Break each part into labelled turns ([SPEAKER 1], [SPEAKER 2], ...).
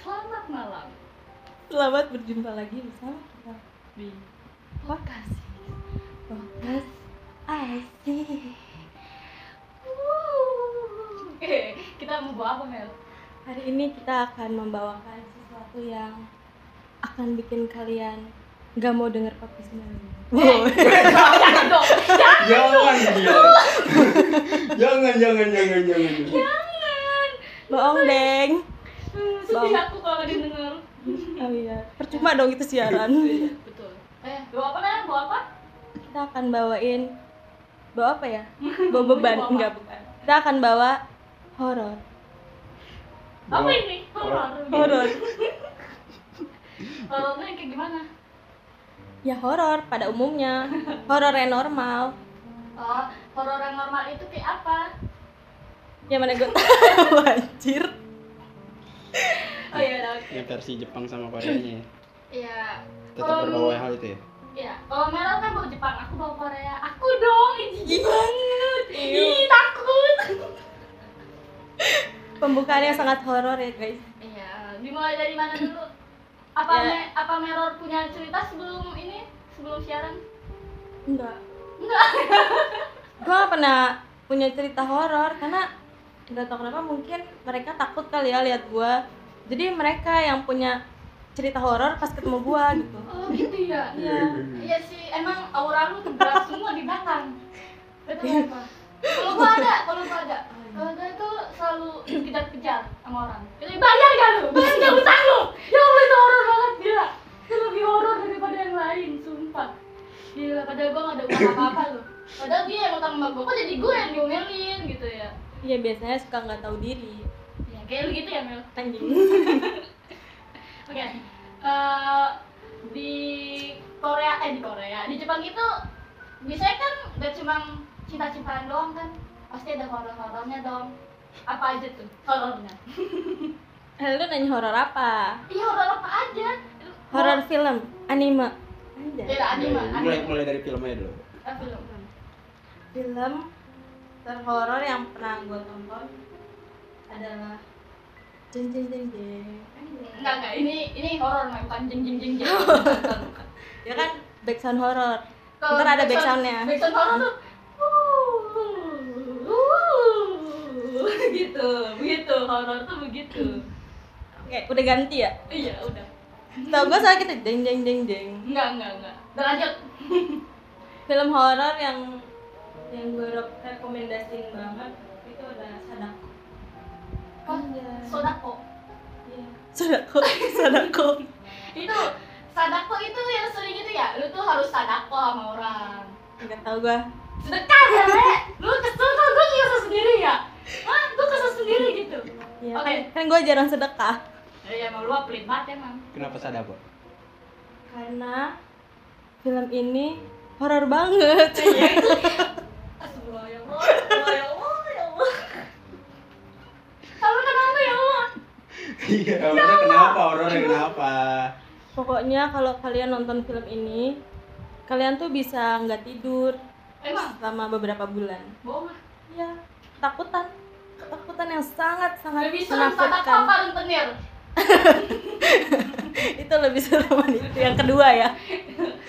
[SPEAKER 1] Selamat malam
[SPEAKER 2] Selamat berjumpa lagi bersama kita di
[SPEAKER 1] Lokasi
[SPEAKER 2] podcast Asik.
[SPEAKER 1] Wuh. Eh, Kita mau bawa apa Mel?
[SPEAKER 2] Hari ini kita akan membawakan sesuatu yang akan bikin kalian nggak mau denger podcast Meli. Wow.
[SPEAKER 1] Eh, Jangan dong
[SPEAKER 3] jangan jangan jangan jangan jangan
[SPEAKER 1] Jangan
[SPEAKER 2] Bohong, Deng.
[SPEAKER 1] Hmm, Sedih
[SPEAKER 2] Bang.
[SPEAKER 1] aku kalau didengar
[SPEAKER 2] Oh iya, percuma dong itu siaran.
[SPEAKER 1] Betul Eh, bawa apa Mel? Bawa apa?
[SPEAKER 2] Kita akan bawain bawa apa ya? Bawa beban
[SPEAKER 1] Bawa apa?
[SPEAKER 2] enggak bukan. Kita akan bawa horor.
[SPEAKER 1] Apa ini? Horor
[SPEAKER 2] Horor.
[SPEAKER 1] Horornya yang kayak gimana?
[SPEAKER 2] Ya horor pada umumnya. Horor yang normal.
[SPEAKER 1] Oh, horor yang normal itu kayak apa?
[SPEAKER 2] Ya mana gue tahu anjir.
[SPEAKER 1] Oh iya, udah, oke
[SPEAKER 3] ini versi Jepang sama Koreanya ya
[SPEAKER 1] Iya
[SPEAKER 3] tetap
[SPEAKER 1] Kalau
[SPEAKER 3] berbawah hal itu ya
[SPEAKER 1] Ya, kalau Mel kan bawa Jepang, aku bawa Korea. Aku dong, ih, jijik banget.
[SPEAKER 2] Iya.
[SPEAKER 1] Ih, takut.
[SPEAKER 2] Pembukaannya sangat horor ya, guys.
[SPEAKER 1] Iya, dimulai dari mana dulu? Apa
[SPEAKER 2] Ya.
[SPEAKER 1] Me- apa Meror punya cerita sebelum ini? Sebelum siaran?
[SPEAKER 2] Enggak. Enggak. gue gak pernah punya cerita horor karena nggak tahu kenapa mungkin mereka takut kali ya lihat gua. Jadi mereka yang punya cerita horor pas ketemu gua gitu.
[SPEAKER 1] Oh, gitu ya.
[SPEAKER 2] Iya.
[SPEAKER 1] Iya sih, emang aura lu tebal semua di belakang.
[SPEAKER 2] Iya.
[SPEAKER 1] Betul apa? Kalau gua ada, kalau gua ada. Kalau gua itu selalu dikejar-kejar sama orang. Jadi bayar gak lu? Bayar gak utang lu? Ya Allah itu horor banget gila. Itu lebih horor daripada yang lain, sumpah. Gila, padahal gua gak ada uang apa-apa lu. Padahal dia yang utang sama gua, kok jadi gua yang diomelin gitu ya.
[SPEAKER 2] Iya biasanya suka nggak tahu diri.
[SPEAKER 1] Ya kayak lu gitu ya Mel.
[SPEAKER 2] Anjing.
[SPEAKER 1] Oke. Eh, di Korea eh di Korea, di Jepang itu biasanya kan gak cuma cinta-cintaan doang kan. Pasti ada horor-horornya dong. Apa aja tuh horornya?
[SPEAKER 2] Eh, Lu nanya horor apa?
[SPEAKER 1] Iya, horor apa aja?
[SPEAKER 2] Horor film, anime.
[SPEAKER 1] Ya,
[SPEAKER 2] Iya. Oh. Anjay.
[SPEAKER 1] anime,
[SPEAKER 3] Iya, mulai
[SPEAKER 1] anime.
[SPEAKER 3] mulai dari filmnya dulu
[SPEAKER 1] Ah, belum, belum.
[SPEAKER 2] Film terhoror yang pernah gua tonton adalah jeng jeng jeng jeng.
[SPEAKER 1] Enggak, enggak. Ini ini horor mah bukan jeng jeng jeng jeng. Bukan, bukan, bukan.
[SPEAKER 2] Ya kan back sound horor.
[SPEAKER 1] Kalau
[SPEAKER 2] Ntar ada back
[SPEAKER 1] backsound-
[SPEAKER 2] sound-nya.
[SPEAKER 1] Backsound horor tuh. gitu, begitu horor tuh begitu.
[SPEAKER 2] Oke, udah ganti ya?
[SPEAKER 1] Iya, udah.
[SPEAKER 2] Tau gue soalnya kita jeng jeng jeng jeng
[SPEAKER 1] Enggak, enggak, enggak. Udah lanjut.
[SPEAKER 2] Film horor yang yang gue rekomendasiin banget itu ada Sadako Iya.
[SPEAKER 1] Oh, Sodako.
[SPEAKER 2] Sadako, Sadako
[SPEAKER 1] Itu Sadako itu yang sering itu ya. Lu tuh harus sadako sama orang.
[SPEAKER 2] Gak tau gue
[SPEAKER 1] Sedekah ya, Le. Lu kesel kan gua kesel sendiri ya. Hah, gua kesel sendiri gitu.
[SPEAKER 2] ya,
[SPEAKER 1] Oke.
[SPEAKER 2] Kan gue jarang sedekah
[SPEAKER 1] Ya, emang lu mah pelit banget emang.
[SPEAKER 3] kenapa sadako
[SPEAKER 2] Karena film ini horor banget
[SPEAKER 1] Iya. Astagfirullah ya Allah. Ya Allah, ya Allah. Kamu kenapa ya Allah?
[SPEAKER 3] iya horornya kenapa horornya kenapa
[SPEAKER 2] Pokoknya kalau kalian nonton film ini Kalian tuh bisa nggak tidur
[SPEAKER 1] Emang
[SPEAKER 2] selama beberapa bulan
[SPEAKER 1] bohong.
[SPEAKER 2] Iya, ketakutan Ketakutan yang sangat-sangat
[SPEAKER 1] Gak bisa lu sadako apa rentenir?
[SPEAKER 2] itu lebih sereman itu yang kedua ya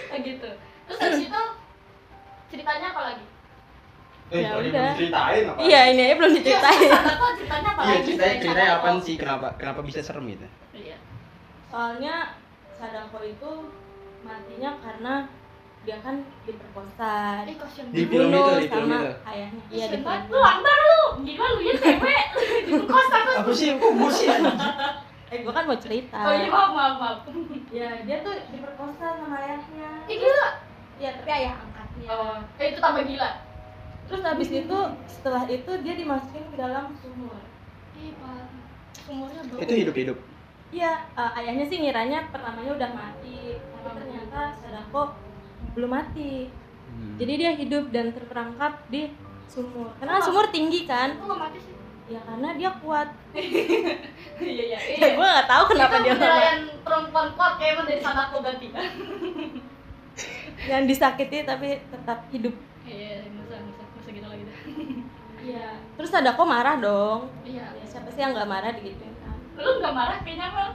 [SPEAKER 1] Kayak gitu. Terus habis itu ceritanya apa lagi?
[SPEAKER 3] eh
[SPEAKER 2] Ya
[SPEAKER 3] tadi
[SPEAKER 2] udah.
[SPEAKER 3] belum ceritain apa
[SPEAKER 2] iya ini aja belum diceritain
[SPEAKER 1] Sadako ceritanya apa
[SPEAKER 3] iya
[SPEAKER 1] lagi?
[SPEAKER 3] ceritanya ceritanya
[SPEAKER 1] Sadako.
[SPEAKER 3] apa sih kenapa kenapa bisa serem gitu
[SPEAKER 1] Iya.
[SPEAKER 2] soalnya Sadako itu matinya karena dia kan diperkosa
[SPEAKER 1] Ini kasihan
[SPEAKER 3] Di
[SPEAKER 1] banget.
[SPEAKER 3] film itu,
[SPEAKER 2] dibunuh
[SPEAKER 3] di film
[SPEAKER 2] sama
[SPEAKER 3] itu.
[SPEAKER 2] ayahnya iya
[SPEAKER 1] Kasihan
[SPEAKER 2] di
[SPEAKER 1] banget.
[SPEAKER 2] film
[SPEAKER 1] Lu lambar lu. Gila lu ya cewek. Di kos aku.
[SPEAKER 3] apa sih kok gue sih
[SPEAKER 2] eh gua kan mau cerita
[SPEAKER 1] Oh iya maaf maaf maaf.
[SPEAKER 2] ya dia tuh diperkosa sama ayahnya
[SPEAKER 1] Ih gila.
[SPEAKER 2] ya tapi ayah angkatnya
[SPEAKER 1] Oh, eh, itu tambah gila.
[SPEAKER 2] terus habis itu setelah itu dia dimasukin ke dalam sumur
[SPEAKER 1] Ih parah. Umurnya bau.
[SPEAKER 3] itu hidup hidup
[SPEAKER 2] Iya, eh, ayahnya sih ngiranya pertamanya udah mati, tapi ternyata Sadako belum mati.
[SPEAKER 3] Hmm.
[SPEAKER 2] Jadi dia hidup dan terperangkap di sumur. Karena
[SPEAKER 1] Oh.
[SPEAKER 2] sumur tinggi kan?
[SPEAKER 1] Kok nggak mati sih?
[SPEAKER 2] Ya karena dia kuat.
[SPEAKER 1] Iya iya.
[SPEAKER 2] Ya gue nggak Iya, tahu kenapa
[SPEAKER 1] itu
[SPEAKER 2] dia kuat.
[SPEAKER 1] penilaian perempuan kuat kayak emang dari sadako berarti
[SPEAKER 2] Yang disakiti tapi tetap hidup. iya.
[SPEAKER 1] iya masa masa masa gitu lagi dah Iya.
[SPEAKER 2] terus ada kok marah dong
[SPEAKER 1] Iya.
[SPEAKER 2] ya, siapa sih yang nggak marah digituin kan
[SPEAKER 1] Lu nggak marah kayaknya Mel.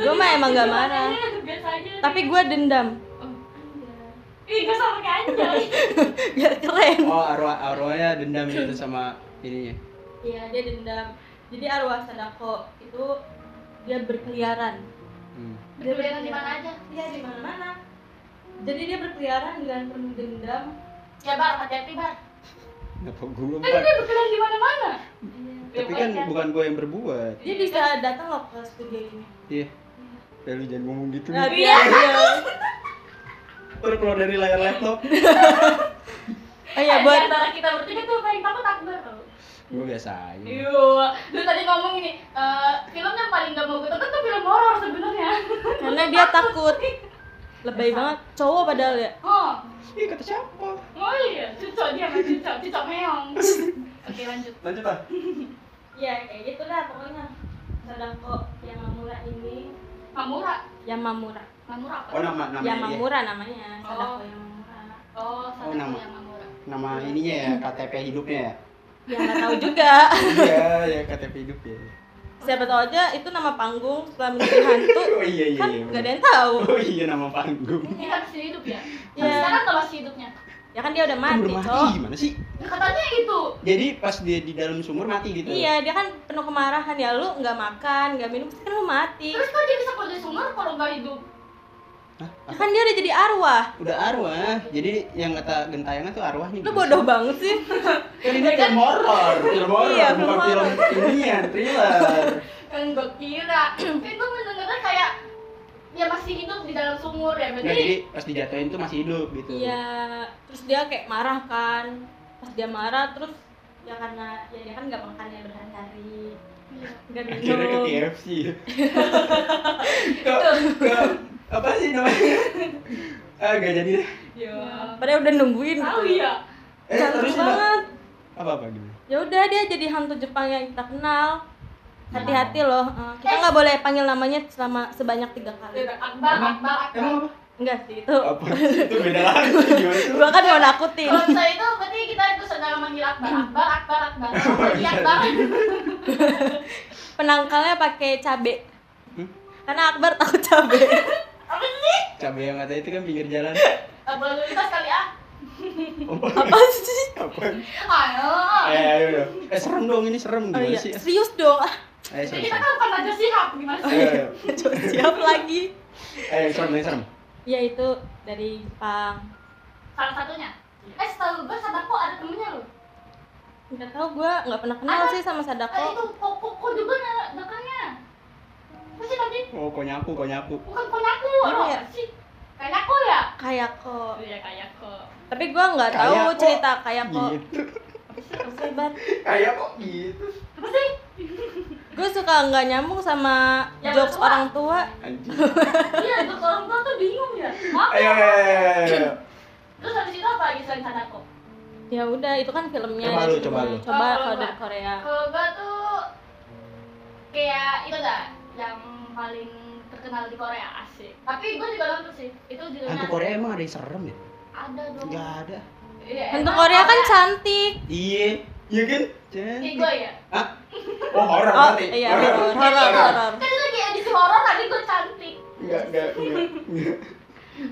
[SPEAKER 2] gue mah emang nggak marah
[SPEAKER 1] Biasa aja.
[SPEAKER 2] tapi gue dendam
[SPEAKER 1] Oh, anjay. Ih, gak sama kayak anjay.
[SPEAKER 2] gak keren
[SPEAKER 3] Oh, arwah arwahnya dendam itu sama ininya.
[SPEAKER 2] iya dia dendam jadi arwah sadako itu dia berkeliaran
[SPEAKER 3] Hmm.
[SPEAKER 1] Berkeliaran di mana aja?
[SPEAKER 2] iya di mana mana jadi dia berkeliaran dengan penuh dendam
[SPEAKER 1] Ya Bar, hati-hati Bar.
[SPEAKER 3] Kenapa gue?
[SPEAKER 1] Kan dia berkeliaran di mana-mana. Iya.
[SPEAKER 3] Tapi kan bukan gue yang berbuat.
[SPEAKER 2] dia bisa datang loh ke studio ini
[SPEAKER 3] Iya. Ya lu jangan ngomong gitu.
[SPEAKER 2] nah,
[SPEAKER 3] Ntar
[SPEAKER 2] dia, dia.
[SPEAKER 3] keluar dari layar laptop.
[SPEAKER 2] oh ya buat
[SPEAKER 1] iya, antara kita bertiga tuh paling takut Akbar tau.
[SPEAKER 3] gue biasa aja.
[SPEAKER 1] Iya, lu tadi ngomong ini, eh film yang paling gak mau gue tonton tuh film horor sebenarnya.
[SPEAKER 2] karena dia takut lebay banget cowok padahal ya
[SPEAKER 1] Oh,
[SPEAKER 3] Ih kata siapa?
[SPEAKER 1] oh iya, cucok dia mah cucok, cucok meong. Oke lanjut.
[SPEAKER 3] Lanjut ah.
[SPEAKER 2] ya kayak gitulah pokoknya Sadako Yamamura ini
[SPEAKER 1] Mamura,
[SPEAKER 2] Yamamura
[SPEAKER 1] Mamura apa?
[SPEAKER 3] Oh nama nama
[SPEAKER 2] Ya,
[SPEAKER 3] dia.
[SPEAKER 2] Yamamura namanya Sadako
[SPEAKER 1] Oh.
[SPEAKER 2] Yamamura
[SPEAKER 1] Oh,
[SPEAKER 3] Oh,
[SPEAKER 1] sama
[SPEAKER 3] nama.
[SPEAKER 1] yang Mamura.
[SPEAKER 3] Nama ininya ya KTP hidupnya ya.
[SPEAKER 2] ya nggak tahu juga
[SPEAKER 3] Iya ya KTP hidup ya.
[SPEAKER 2] siapa tahu aja itu nama panggung setelah menjadi hantu
[SPEAKER 3] Oh iya iya.
[SPEAKER 2] kan
[SPEAKER 3] iya,
[SPEAKER 2] nggak ada
[SPEAKER 3] bener.
[SPEAKER 2] yang tahu
[SPEAKER 3] Oh iya nama panggung.
[SPEAKER 1] Ini kan masih hidup ya?
[SPEAKER 2] Iya.
[SPEAKER 1] Sampai Sekarang tuh masih hidupnya.
[SPEAKER 2] ya kan dia udah
[SPEAKER 3] Kan
[SPEAKER 2] mati
[SPEAKER 3] belum
[SPEAKER 2] cowok
[SPEAKER 3] mati gimana sih?
[SPEAKER 1] Nah, katanya itu.
[SPEAKER 3] Jadi pas dia di dalam sumur mati gitu.
[SPEAKER 2] iya dia kan penuh kemarahan ya lu nggak makan nggak minum pasti kan lu mati
[SPEAKER 1] Terus kok dia bisa keluar dari sumur kalau nggak hidup?
[SPEAKER 2] Ya kan dia udah jadi arwah
[SPEAKER 3] Udah arwah. Jadi yang kata gentayangan tuh arwahnya.
[SPEAKER 2] lu
[SPEAKER 3] gitu.
[SPEAKER 2] bodoh banget sih
[SPEAKER 3] Kan ini film horor, film horor,
[SPEAKER 2] Iya, film
[SPEAKER 3] bukan film inian, thriller.
[SPEAKER 1] Kan gue kira. kan gue mendengarnya kayak dia masih hidup di dalam sumur ya.
[SPEAKER 3] Nah,
[SPEAKER 1] Berarti
[SPEAKER 3] jadi pas dijatuhin tuh masih hidup gitu.
[SPEAKER 2] Iya, terus dia kayak marah kan. Pas dia marah terus ya karena ya dia kan nggak makan ya berhari-hari,
[SPEAKER 1] Iya.
[SPEAKER 2] nggak
[SPEAKER 3] Akhirnya ke
[SPEAKER 2] minum.
[SPEAKER 3] KFC. ke, ke apa sih namanya? Ah, gak jadi deh.
[SPEAKER 1] Iya.
[SPEAKER 2] Padahal udah nungguin.
[SPEAKER 1] Tahu
[SPEAKER 2] gitu.
[SPEAKER 1] ya.
[SPEAKER 3] Eh,
[SPEAKER 2] Cantik
[SPEAKER 3] terus apa?
[SPEAKER 2] banget.
[SPEAKER 3] Apa apa gimana?
[SPEAKER 2] Ya udah dia jadi hantu Jepang yang kita kenal.
[SPEAKER 3] Iya.
[SPEAKER 2] Hati-hati loh, eh, kita nggak boleh panggil namanya selama sebanyak tiga kali.
[SPEAKER 1] Iya, Akbar, Akbar, Akbar.
[SPEAKER 3] Emang apa?
[SPEAKER 2] Enggak sih itu.
[SPEAKER 3] Apa? Itu beda lagi gimana itu?
[SPEAKER 2] Gua kan mau nakutin.
[SPEAKER 1] Kalau saya itu berarti kita itu saudara manggil Akbar, Akbar, Akbar, Akbar.
[SPEAKER 3] Oh, iya.
[SPEAKER 1] Lagi Akbar.
[SPEAKER 2] Penangkalnya pakai cabe.
[SPEAKER 3] Hmm?
[SPEAKER 2] Karena Akbar takut cabe.
[SPEAKER 1] Apa sih?
[SPEAKER 3] Cabai yang kata itu kan pinggir jalan.
[SPEAKER 1] Akbar lalu lintas kali ah.
[SPEAKER 2] Apa sih?
[SPEAKER 3] Apa?
[SPEAKER 1] Ayo.
[SPEAKER 3] Eh, ayo dong. Eh, serem dong ini
[SPEAKER 2] Oh
[SPEAKER 3] serem gimana
[SPEAKER 2] iya,
[SPEAKER 3] sih? ya?
[SPEAKER 2] serius dong. Ah,
[SPEAKER 3] Ayo
[SPEAKER 1] Jadi
[SPEAKER 3] serem.
[SPEAKER 1] kita
[SPEAKER 3] serem.
[SPEAKER 1] kan bukan aja sihab gimana
[SPEAKER 2] Oh,
[SPEAKER 1] sih?
[SPEAKER 3] Ayo,
[SPEAKER 2] iya.
[SPEAKER 3] ayo.
[SPEAKER 2] siap lagi.
[SPEAKER 3] ayo eh, serem, ayo serem.
[SPEAKER 2] Ya itu dari Jepang.
[SPEAKER 1] Salah satunya.
[SPEAKER 3] Iya.
[SPEAKER 1] Eh, setahu gue Sadako ada temennya loh.
[SPEAKER 2] Nggak tahu gua nggak pernah kenal
[SPEAKER 1] Ada.
[SPEAKER 2] sih sama
[SPEAKER 1] Eh,
[SPEAKER 2] Sadako.
[SPEAKER 1] itu kok kok kok juga ada dekatnya. Apa sih tadi?
[SPEAKER 3] Oh, kok nyapu, kok nyapu.
[SPEAKER 1] Bukan konyaku,
[SPEAKER 2] Iya,
[SPEAKER 1] apa
[SPEAKER 2] iya.
[SPEAKER 1] sih? Kayako ya?
[SPEAKER 3] Oh,
[SPEAKER 2] Kayako.
[SPEAKER 1] Iya, kayako.
[SPEAKER 2] Tapi gua nggak tahu
[SPEAKER 3] Kayako.
[SPEAKER 2] cerita Kayako.
[SPEAKER 3] Gitu.
[SPEAKER 2] Hebat.
[SPEAKER 3] Kayak kok gitu.
[SPEAKER 1] Apa sih?
[SPEAKER 2] Gue suka nggak nyambung sama
[SPEAKER 1] Yang
[SPEAKER 2] jokes
[SPEAKER 1] tua.
[SPEAKER 2] orang tua.
[SPEAKER 3] Anjing.
[SPEAKER 1] Iya, untuk orang tua tuh bingung ya. Apa?
[SPEAKER 3] Ayo, ayo, ayo, ayo,
[SPEAKER 2] Iya.
[SPEAKER 3] ayo.
[SPEAKER 1] Terus habis itu apa lagi selain Sadako?
[SPEAKER 2] Ya udah, itu kan filmnya.
[SPEAKER 3] Coba
[SPEAKER 2] dari
[SPEAKER 3] lu, coba
[SPEAKER 2] situ.
[SPEAKER 3] lu.
[SPEAKER 2] Coba
[SPEAKER 1] Oh,
[SPEAKER 2] kalau
[SPEAKER 1] coba.
[SPEAKER 2] dari Korea.
[SPEAKER 1] Kalau gua tuh kayak itu dah yang paling terkenal di Korea asik. Tapi gua juga nonton sih. Itu judulnya
[SPEAKER 3] Hantu Korea emang ada yang serem ya?
[SPEAKER 1] ada dong.
[SPEAKER 3] Gak ada.
[SPEAKER 1] Iya,
[SPEAKER 2] Untuk
[SPEAKER 1] emang
[SPEAKER 2] Korea kan cantik.
[SPEAKER 3] Iya, iya kan?
[SPEAKER 2] gitu.
[SPEAKER 1] Ih,
[SPEAKER 3] Cantik.
[SPEAKER 1] gua ya.
[SPEAKER 3] Hah? Oh, horor
[SPEAKER 2] Oh
[SPEAKER 3] berarti.
[SPEAKER 2] iya horor horor horor.
[SPEAKER 1] Kan lagi edisi horor tadi gua cantik.
[SPEAKER 3] Enggak, enggak, enggak. enggak.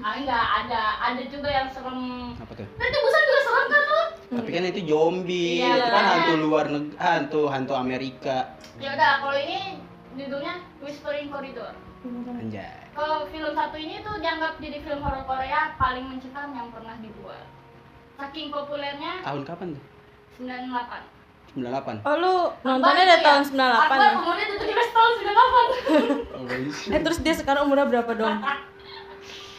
[SPEAKER 1] Ah enggak, ada ada juga yang serem.
[SPEAKER 3] Apa tuh?
[SPEAKER 1] Berarti busan juga serem kan lu?
[SPEAKER 3] Tapi kan itu zombie,
[SPEAKER 1] Iya,
[SPEAKER 3] itu kan
[SPEAKER 1] makanya.
[SPEAKER 3] hantu luar negeri, hantu hantu Amerika.
[SPEAKER 1] Ya udah, kalau ini judulnya Whispering Corridor.
[SPEAKER 3] Anjay.
[SPEAKER 1] Kalau film satu ini tuh dianggap jadi film horor Korea paling mencekam yang pernah dibuat. Saking populernya
[SPEAKER 3] Tahun kapan tuh?
[SPEAKER 1] 98.
[SPEAKER 3] 98.
[SPEAKER 2] Oh lu
[SPEAKER 1] Akbar
[SPEAKER 2] nontonnya dari
[SPEAKER 1] itu
[SPEAKER 2] tahun
[SPEAKER 1] ya? Akbar
[SPEAKER 2] 98 ya?
[SPEAKER 1] umurnya 17 tahun 98.
[SPEAKER 3] Oh,
[SPEAKER 2] Eh terus dia sekarang umurnya berapa dong?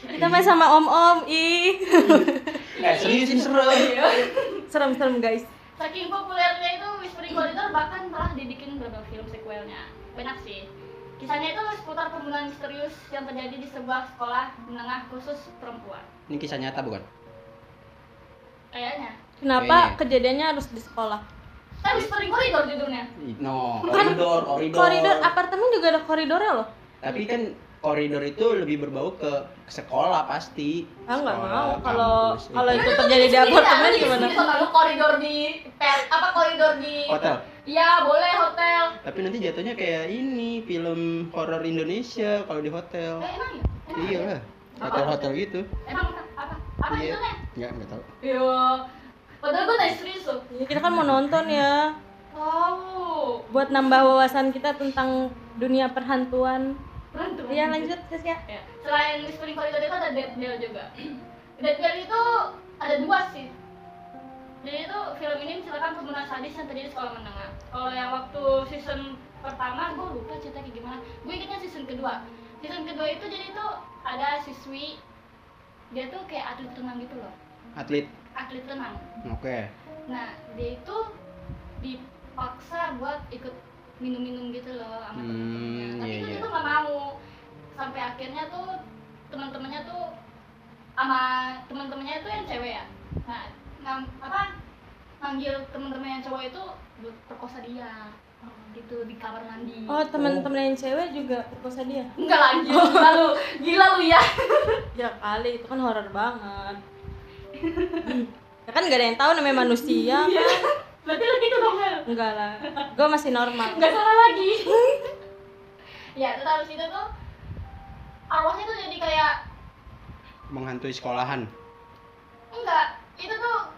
[SPEAKER 2] Kita main sama om-om, ih
[SPEAKER 3] eh, serius ini serem.
[SPEAKER 2] iya. Serem-serem guys
[SPEAKER 1] Saking populernya itu Whispering Corridor bahkan telah dibikin beberapa film sequelnya. Banyak sih. Kisahnya itu seputar pembunuhan misterius yang terjadi di sebuah sekolah menengah khusus perempuan.
[SPEAKER 3] Ini kisah nyata bukan?
[SPEAKER 1] Kayaknya.
[SPEAKER 2] Kenapa
[SPEAKER 3] Kayaknya.
[SPEAKER 2] kejadiannya harus di sekolah?
[SPEAKER 1] Kan Whispering Corridor judulnya.
[SPEAKER 2] Kan
[SPEAKER 3] No, koridor, koridor.
[SPEAKER 2] Koridor apartemen juga ada koridornya loh
[SPEAKER 3] Tapi kan koridor itu lebih berbau ke sekolah pasti.
[SPEAKER 2] ah nggak
[SPEAKER 3] Sekolah,
[SPEAKER 2] mau kalau
[SPEAKER 3] kampus, ya.
[SPEAKER 2] kalau itu terjadi di apartemen gimana
[SPEAKER 1] Kalau Iya, koridor di per, apa koridor di
[SPEAKER 3] hotel.
[SPEAKER 1] Ya boleh hotel.
[SPEAKER 3] Tapi nanti jatuhnya kayak ini film horor Indonesia kalau di hotel.
[SPEAKER 1] Eh, emang ya? Emang
[SPEAKER 3] Iya
[SPEAKER 1] ya?
[SPEAKER 3] lah. Hotel-hotel gitu.
[SPEAKER 1] Emang apa? Apa itu
[SPEAKER 3] Iya.
[SPEAKER 1] kan?
[SPEAKER 3] Enggak, enggak tahu.
[SPEAKER 1] Yo. Padahal gue nanya serius loh.
[SPEAKER 2] Ya, kita kan mau nonton ya
[SPEAKER 1] Wow.
[SPEAKER 2] buat nambah wawasan kita tentang dunia perhantuan
[SPEAKER 1] Berantem.
[SPEAKER 2] ya lanjut Sis ya
[SPEAKER 1] Ya. Selain whispering koridor itu ada Dead Bell juga. Dead Bell itu ada dua sih. Jadi itu film ini menceritakan pembunuhan sadis yang terjadi di sekolah menengah. Kalau yang waktu season pertama, gue lupa cerita kayak gimana. Gue ingetnya season kedua. Season kedua itu jadi itu ada siswi dia tuh kayak atlet renang gitu loh,
[SPEAKER 3] Atlet.
[SPEAKER 1] atlet renang.
[SPEAKER 3] Oke.
[SPEAKER 1] Nah dia itu dipaksa buat ikut minum-minum gitu loh sama
[SPEAKER 3] Hmm,
[SPEAKER 1] temen-temennya. Tapi
[SPEAKER 3] iya,
[SPEAKER 1] itu dia
[SPEAKER 3] iya.
[SPEAKER 1] tuh nggak mau. Sampai akhirnya tuh teman-temannya tuh sama teman-temannya itu yang cewek ya. Nah, nam, apa manggil teman-teman yang cowok itu buat perkosa dia gitu di kamar mandi.
[SPEAKER 2] oh teman-teman yang cewek juga perkosa dia
[SPEAKER 1] Enggak lagi, gila lu, gila lu ya.
[SPEAKER 2] ya kali itu kan horor banget ya kan gak ada yang tahu namanya manusia kan?
[SPEAKER 1] Berarti lu gitu dong, Mel.
[SPEAKER 2] enggak lah gue masih normal
[SPEAKER 1] nggak salah lagi ya terus habis itu tuh arwahnya tuh jadi kayak
[SPEAKER 3] Menghantui sekolahan.
[SPEAKER 1] enggak itu tuh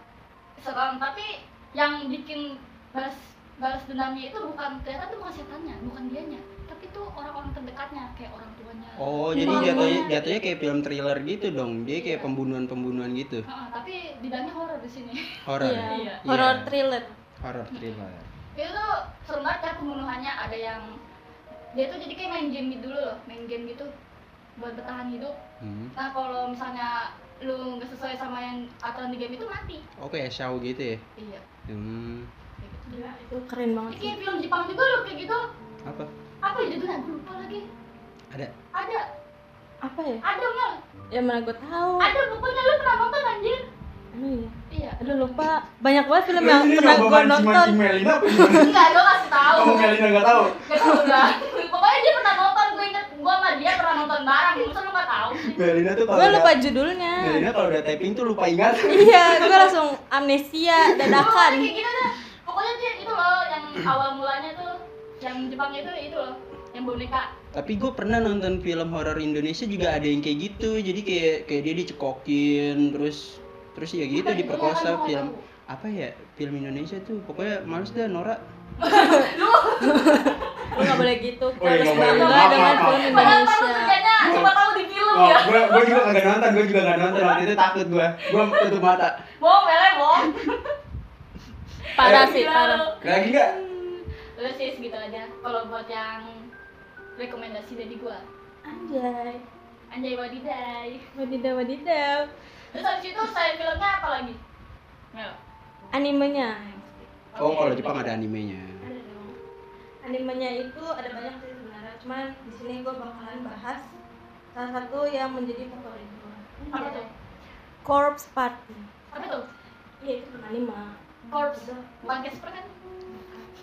[SPEAKER 1] serem tapi yang bikin balas balas dendamnya itu bukan ternyata tuh bukan setannya bukan dianya tapi tuh orang-orang terdekatnya kayak orang tuanya
[SPEAKER 3] Oh, jadi
[SPEAKER 1] Iya.
[SPEAKER 3] jatuhnya jatuhnya kayak film thriller gitu dong. Dia kayak pembunuhan-pembunuhan gitu.
[SPEAKER 1] Heeh, tapi di dalamnya horor di sini
[SPEAKER 3] Horor.
[SPEAKER 2] iya
[SPEAKER 1] Iya.
[SPEAKER 2] horor thriller
[SPEAKER 3] Horor thriller.
[SPEAKER 1] itu tuh serem banget ya pembunuhannya ada yang dia tuh jadi kayak main game gitu dulu loh main game gitu buat bertahan hidup
[SPEAKER 3] Hmm.
[SPEAKER 1] nah kalau misalnya lu nggak sesuai sama yang aturan di game itu mati
[SPEAKER 3] Oke, Shaw gitu ya.
[SPEAKER 1] iya
[SPEAKER 3] Hmm.
[SPEAKER 1] kayak gitu Gila, itu
[SPEAKER 2] Iya, itu kan keren banget sih
[SPEAKER 1] kayak film Jepang juga loh kayak gitu
[SPEAKER 3] Apa?
[SPEAKER 1] apa ya judulnya gue lupa lagi
[SPEAKER 3] Ada.
[SPEAKER 1] ada
[SPEAKER 2] apa ya
[SPEAKER 1] ada mel
[SPEAKER 2] ya mana gue tahu
[SPEAKER 1] ada pokoknya lu pernah nonton anjir
[SPEAKER 2] Aduh, iya.
[SPEAKER 1] iya
[SPEAKER 2] aduh lupa banyak banget film yang pernah gue nonton
[SPEAKER 4] Melina apa gimana?
[SPEAKER 1] enggak dong kasih tahu
[SPEAKER 4] Kamu Melina nggak tahu?
[SPEAKER 1] Gak tau lah pokoknya dia pernah nonton gue inget gue sama dia pernah nonton bareng masa lu gak tahu sih
[SPEAKER 4] Melina tuh kalau
[SPEAKER 2] gue lupa
[SPEAKER 4] udah-
[SPEAKER 2] judulnya
[SPEAKER 4] Melina kalau udah taping tuh lupa ingat.
[SPEAKER 2] iya gue langsung amnesia
[SPEAKER 1] Pokoknya kayak
[SPEAKER 2] dadakan
[SPEAKER 1] gitu dah pokoknya dia itu loh yang awal mulanya tuh yang Jepang itu itu loh yang boneka
[SPEAKER 3] Tapi gue pernah nonton film horor Indonesia juga ada yang kayak gitu. Jadi kayak kayak dia dicekokin terus terus ya gitu
[SPEAKER 1] Bukan,
[SPEAKER 3] diperkosa
[SPEAKER 1] iya, kan,
[SPEAKER 3] film
[SPEAKER 1] gua nggak
[SPEAKER 3] apa ya film Indonesia tuh pokoknya males dah Nora
[SPEAKER 2] lo gak boleh gitu kita
[SPEAKER 4] Oh, iya,
[SPEAKER 2] harus
[SPEAKER 4] nggak boleh.
[SPEAKER 2] bangga
[SPEAKER 4] Maaf,
[SPEAKER 2] dengan
[SPEAKER 4] maaf,
[SPEAKER 2] film
[SPEAKER 4] maaf.
[SPEAKER 1] padahal lu
[SPEAKER 2] Indonesia
[SPEAKER 1] kerjanya cuma tahu di film
[SPEAKER 4] Oh,
[SPEAKER 1] ya
[SPEAKER 4] gue gue juga kagak nonton, gue juga nggak nonton waktu itu takut gue, gue tutup mata.
[SPEAKER 1] bohong mele bohong
[SPEAKER 2] parah
[SPEAKER 1] Iya.
[SPEAKER 2] sih parah
[SPEAKER 4] Lagi nggak?
[SPEAKER 1] Udah sih segitu aja kalau buat yang rekomendasi dari gua.
[SPEAKER 2] anjay
[SPEAKER 1] Anjay wadiday.
[SPEAKER 2] wadidaw wadidaw
[SPEAKER 1] Terus habis itu saya filmnya apa lagi? Mel.
[SPEAKER 2] animenya
[SPEAKER 1] Oke.
[SPEAKER 3] oh kalau Jepang ada animenya
[SPEAKER 2] Ada dong. Animenya itu ada banyak sih sebenarnya, cuman di sini gue bakalan bahas salah satu yang menjadi favorit gue.
[SPEAKER 1] Apa tuh?
[SPEAKER 2] Corpse Party.
[SPEAKER 1] Apa tuh?
[SPEAKER 2] Iya itu bukan anime.
[SPEAKER 1] Corpse. Bukan Casper kan?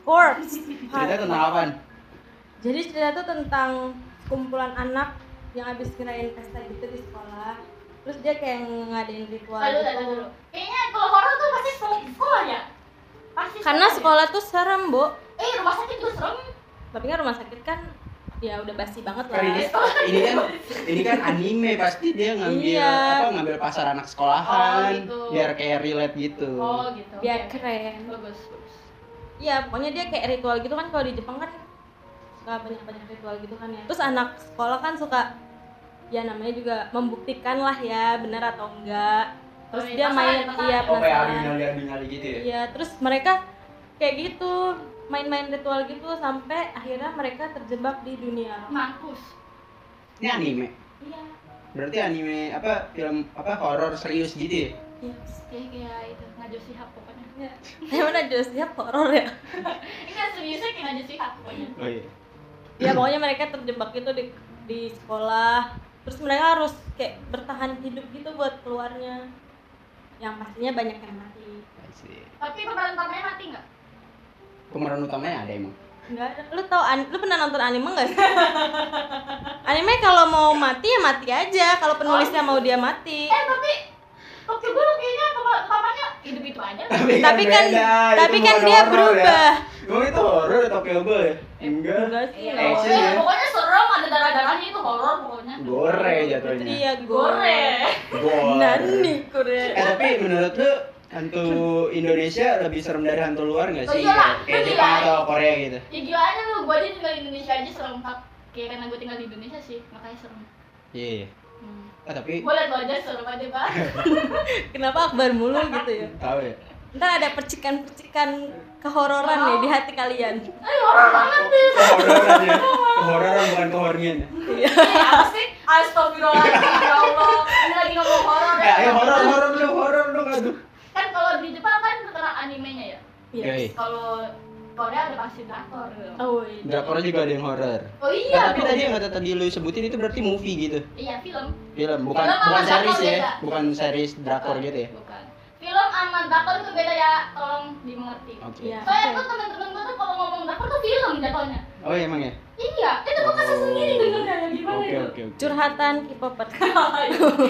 [SPEAKER 2] Corpse.
[SPEAKER 3] cerita
[SPEAKER 2] Party.
[SPEAKER 3] tentang apaan
[SPEAKER 2] Jadi cerita tuh tentang kumpulan anak yang habis ngerayain pesta gitu di sekolah. Terus dia kayak ngadain ritual
[SPEAKER 1] Aduh,
[SPEAKER 2] gitu.
[SPEAKER 1] aduh, aduh. Kayaknya kalau horor tuh pasti sekolah, sekolah ya? Pasti
[SPEAKER 2] Karena
[SPEAKER 1] ya?
[SPEAKER 2] sekolah tuh serem, Bu.
[SPEAKER 1] Eh, rumah sakit tuh serem.
[SPEAKER 2] Tapi kan rumah sakit kan ya udah basi banget lah.
[SPEAKER 3] Kan ini,
[SPEAKER 1] Gitu.
[SPEAKER 3] ini kan ini kan anime pasti dia ngambil
[SPEAKER 2] Iya.
[SPEAKER 3] apa ngambil pasar anak sekolahan
[SPEAKER 1] Oh, gitu.
[SPEAKER 3] biar kayak relate gitu
[SPEAKER 1] Oh, gitu.
[SPEAKER 2] Biar
[SPEAKER 1] Oke.
[SPEAKER 2] Ya, keren.
[SPEAKER 1] Bagus, bagus.
[SPEAKER 2] Iya, pokoknya dia kayak ritual gitu kan kalau di Jepang kan suka banyak-banyak ritual gitu kan ya. Terus anak sekolah kan suka ya namanya juga membuktikan lah ya benar atau enggak. Terus
[SPEAKER 1] Oh, iya,
[SPEAKER 2] dia
[SPEAKER 1] penasaran,
[SPEAKER 2] main
[SPEAKER 1] penasaran.
[SPEAKER 2] iya
[SPEAKER 4] Oh kayak
[SPEAKER 2] penasaran.
[SPEAKER 4] abinali abinali gitu ya?
[SPEAKER 2] Iya, terus mereka kayak gitu main-main ritual gitu sampai akhirnya mereka terjebak di dunia.
[SPEAKER 1] Mampus.
[SPEAKER 3] ini anime
[SPEAKER 1] Iya.
[SPEAKER 3] berarti anime apa film apa horor serius gitu ya
[SPEAKER 2] Yes.
[SPEAKER 1] Kayak kayak itu ngajo sihab pokoknya.
[SPEAKER 2] Ya. Gimana Josnya horor ya?
[SPEAKER 1] Enggak seriusnya kayak ngajo sihab pokoknya.
[SPEAKER 3] oh iya
[SPEAKER 2] ya pokoknya mereka terjebak gitu di di sekolah terus mereka harus kayak bertahan hidup gitu buat keluarnya yang pastinya banyak yang mati
[SPEAKER 3] I see.
[SPEAKER 1] Tapi pemeran utamanya mati nggak?
[SPEAKER 3] pemeran utamanya ada emang
[SPEAKER 2] Enggak ada. Lu tau an- lu pernah nonton anime enggak? anime kalau mau mati ya mati aja, kalau penulisnya mau dia mati.
[SPEAKER 1] Eh tapi Tokyo Ghoul kayaknya kema- kemamanya hidup-hidup aja.
[SPEAKER 2] Tapi kan-
[SPEAKER 4] beda,
[SPEAKER 2] tapi
[SPEAKER 4] itu
[SPEAKER 2] kan
[SPEAKER 4] bukan
[SPEAKER 2] dia
[SPEAKER 4] horor
[SPEAKER 2] berubah.
[SPEAKER 4] ya. Emang itu horor atau kabel ya? Enggak.
[SPEAKER 2] Enggak sih.
[SPEAKER 1] Iya,
[SPEAKER 4] Action
[SPEAKER 1] pokoknya,
[SPEAKER 4] ya.
[SPEAKER 1] pokoknya serem ada darah-darahnya itu horor pokoknya.
[SPEAKER 4] Gore jatuhnya.
[SPEAKER 2] Iya, gore.
[SPEAKER 1] Gore.
[SPEAKER 4] Gore.
[SPEAKER 2] Nani kure.
[SPEAKER 3] Eh tapi menurut lu hantu Indonesia lebih serem dari hantu luar nggak
[SPEAKER 1] Oh,
[SPEAKER 3] sih?
[SPEAKER 1] iyalah,
[SPEAKER 3] Kayak
[SPEAKER 1] bener
[SPEAKER 3] Jepang
[SPEAKER 1] ya.
[SPEAKER 3] atau Korea gitu.
[SPEAKER 1] Ya gila aja lu, gua aja tinggal di Indonesia aja serem pak. Kayak karena gua tinggal di Indonesia sih, makanya serem.
[SPEAKER 3] Iya. iya.
[SPEAKER 1] Hmm.
[SPEAKER 3] Ah, tapi
[SPEAKER 1] Gua liat wajah serem aja pak.
[SPEAKER 2] Kenapa Akbar mulu gitu ya?
[SPEAKER 4] Tahu ya.
[SPEAKER 2] Ntar ada percikan-percikan kehororan nih di hati kalian.
[SPEAKER 1] Eh horor banget sih.
[SPEAKER 4] Kehororan ya. Kehororan bukan kehornian. ya.
[SPEAKER 1] Eh, apa sih? Astagfirullahaladzim, ya Allah. Ini lagi ngomong horor
[SPEAKER 4] Eh, ayo
[SPEAKER 1] ya.
[SPEAKER 4] horor horor lu horor dong aduh.
[SPEAKER 1] Kan kalau di Jepang kan terkenal animenya ya.
[SPEAKER 2] Iya.
[SPEAKER 3] Yoi.
[SPEAKER 1] Kalau Korea ada pasti drakor.
[SPEAKER 2] Oh, iya.
[SPEAKER 3] drakornya juga ada yang horor.
[SPEAKER 1] Oh
[SPEAKER 3] Eh,
[SPEAKER 1] iya,
[SPEAKER 3] tapi
[SPEAKER 1] bro.
[SPEAKER 3] tadi yang kata tadi lu sebutin itu berarti movie gitu.
[SPEAKER 1] Iya film.
[SPEAKER 3] Film, bukan
[SPEAKER 1] Film sama
[SPEAKER 3] bukan
[SPEAKER 1] drakor
[SPEAKER 3] series ya,
[SPEAKER 1] beda.
[SPEAKER 3] bukan series drakor gitu ya.
[SPEAKER 1] Bukan. Film sama drakor itu beda ya, tolong dimengerti.
[SPEAKER 3] Oke.
[SPEAKER 2] Iya.
[SPEAKER 1] Soalnya tuh temen-temen gue tuh kalau ngomong drakor tuh film jatuhnya.
[SPEAKER 3] Oh emang ya?
[SPEAKER 1] Iya, itu gue kasih
[SPEAKER 4] Oh.
[SPEAKER 1] sendiri dengernya gimana ya?
[SPEAKER 4] Oke
[SPEAKER 1] itu.
[SPEAKER 4] oke oke.
[SPEAKER 2] Curhatan K-popper.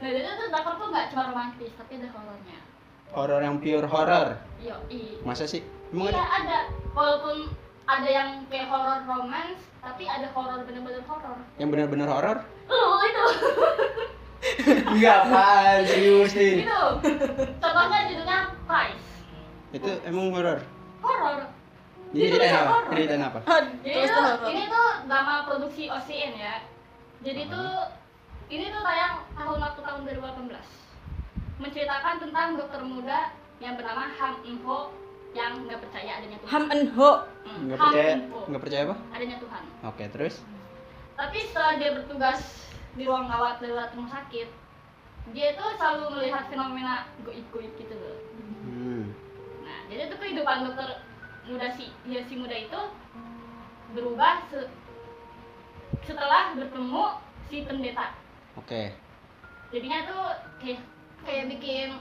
[SPEAKER 1] nah jadi tuh drakor tuh nggak cuma romantis, tapi ada horornya.
[SPEAKER 3] Horor yang pure horor.
[SPEAKER 1] Yo, iya.
[SPEAKER 3] Masa sih? Emang
[SPEAKER 1] Iya
[SPEAKER 3] ada?
[SPEAKER 1] ada, walaupun ada yang kayak horor romance, tapi ada horor bener-bener horor.
[SPEAKER 3] Yang benar-benar horor?
[SPEAKER 1] Lu itu,
[SPEAKER 4] Iya apaan serius
[SPEAKER 3] Iya.
[SPEAKER 4] nih.
[SPEAKER 1] itu. Gitu. Contohnya judulnya Price.
[SPEAKER 3] Itu emang horor.
[SPEAKER 1] Horor.
[SPEAKER 3] Jadi
[SPEAKER 1] Itu
[SPEAKER 3] ceritain
[SPEAKER 1] bisa
[SPEAKER 3] apa?
[SPEAKER 1] horor.
[SPEAKER 3] Ceritain apa?
[SPEAKER 1] Jadi tuh, ini tuh nama produksi OCN ya. Jadi tuh ini tuh tayang tahun waktu tahun 2018. Menceritakan tentang dokter muda yang bernama Ham Eun Ho yang nggak percaya adanya Tuhan.
[SPEAKER 2] Ham en ho.
[SPEAKER 1] Hmm,
[SPEAKER 3] Nggak
[SPEAKER 1] Ham
[SPEAKER 3] percaya?
[SPEAKER 1] Eun Ho,
[SPEAKER 3] Nggak percaya apa?
[SPEAKER 1] adanya Tuhan.
[SPEAKER 3] Oke terus?
[SPEAKER 1] Tapi setelah dia bertugas di ruang rawat lewat rumah sakit, dia tuh selalu melihat fenomena goib-goib gitu loh.
[SPEAKER 3] Hmm.
[SPEAKER 1] Nah, jadi itu kehidupan dokter muda si dia si muda itu berubah se- setelah bertemu si pendeta.
[SPEAKER 3] Oke.
[SPEAKER 1] Jadinya tuh kayak kayak bikin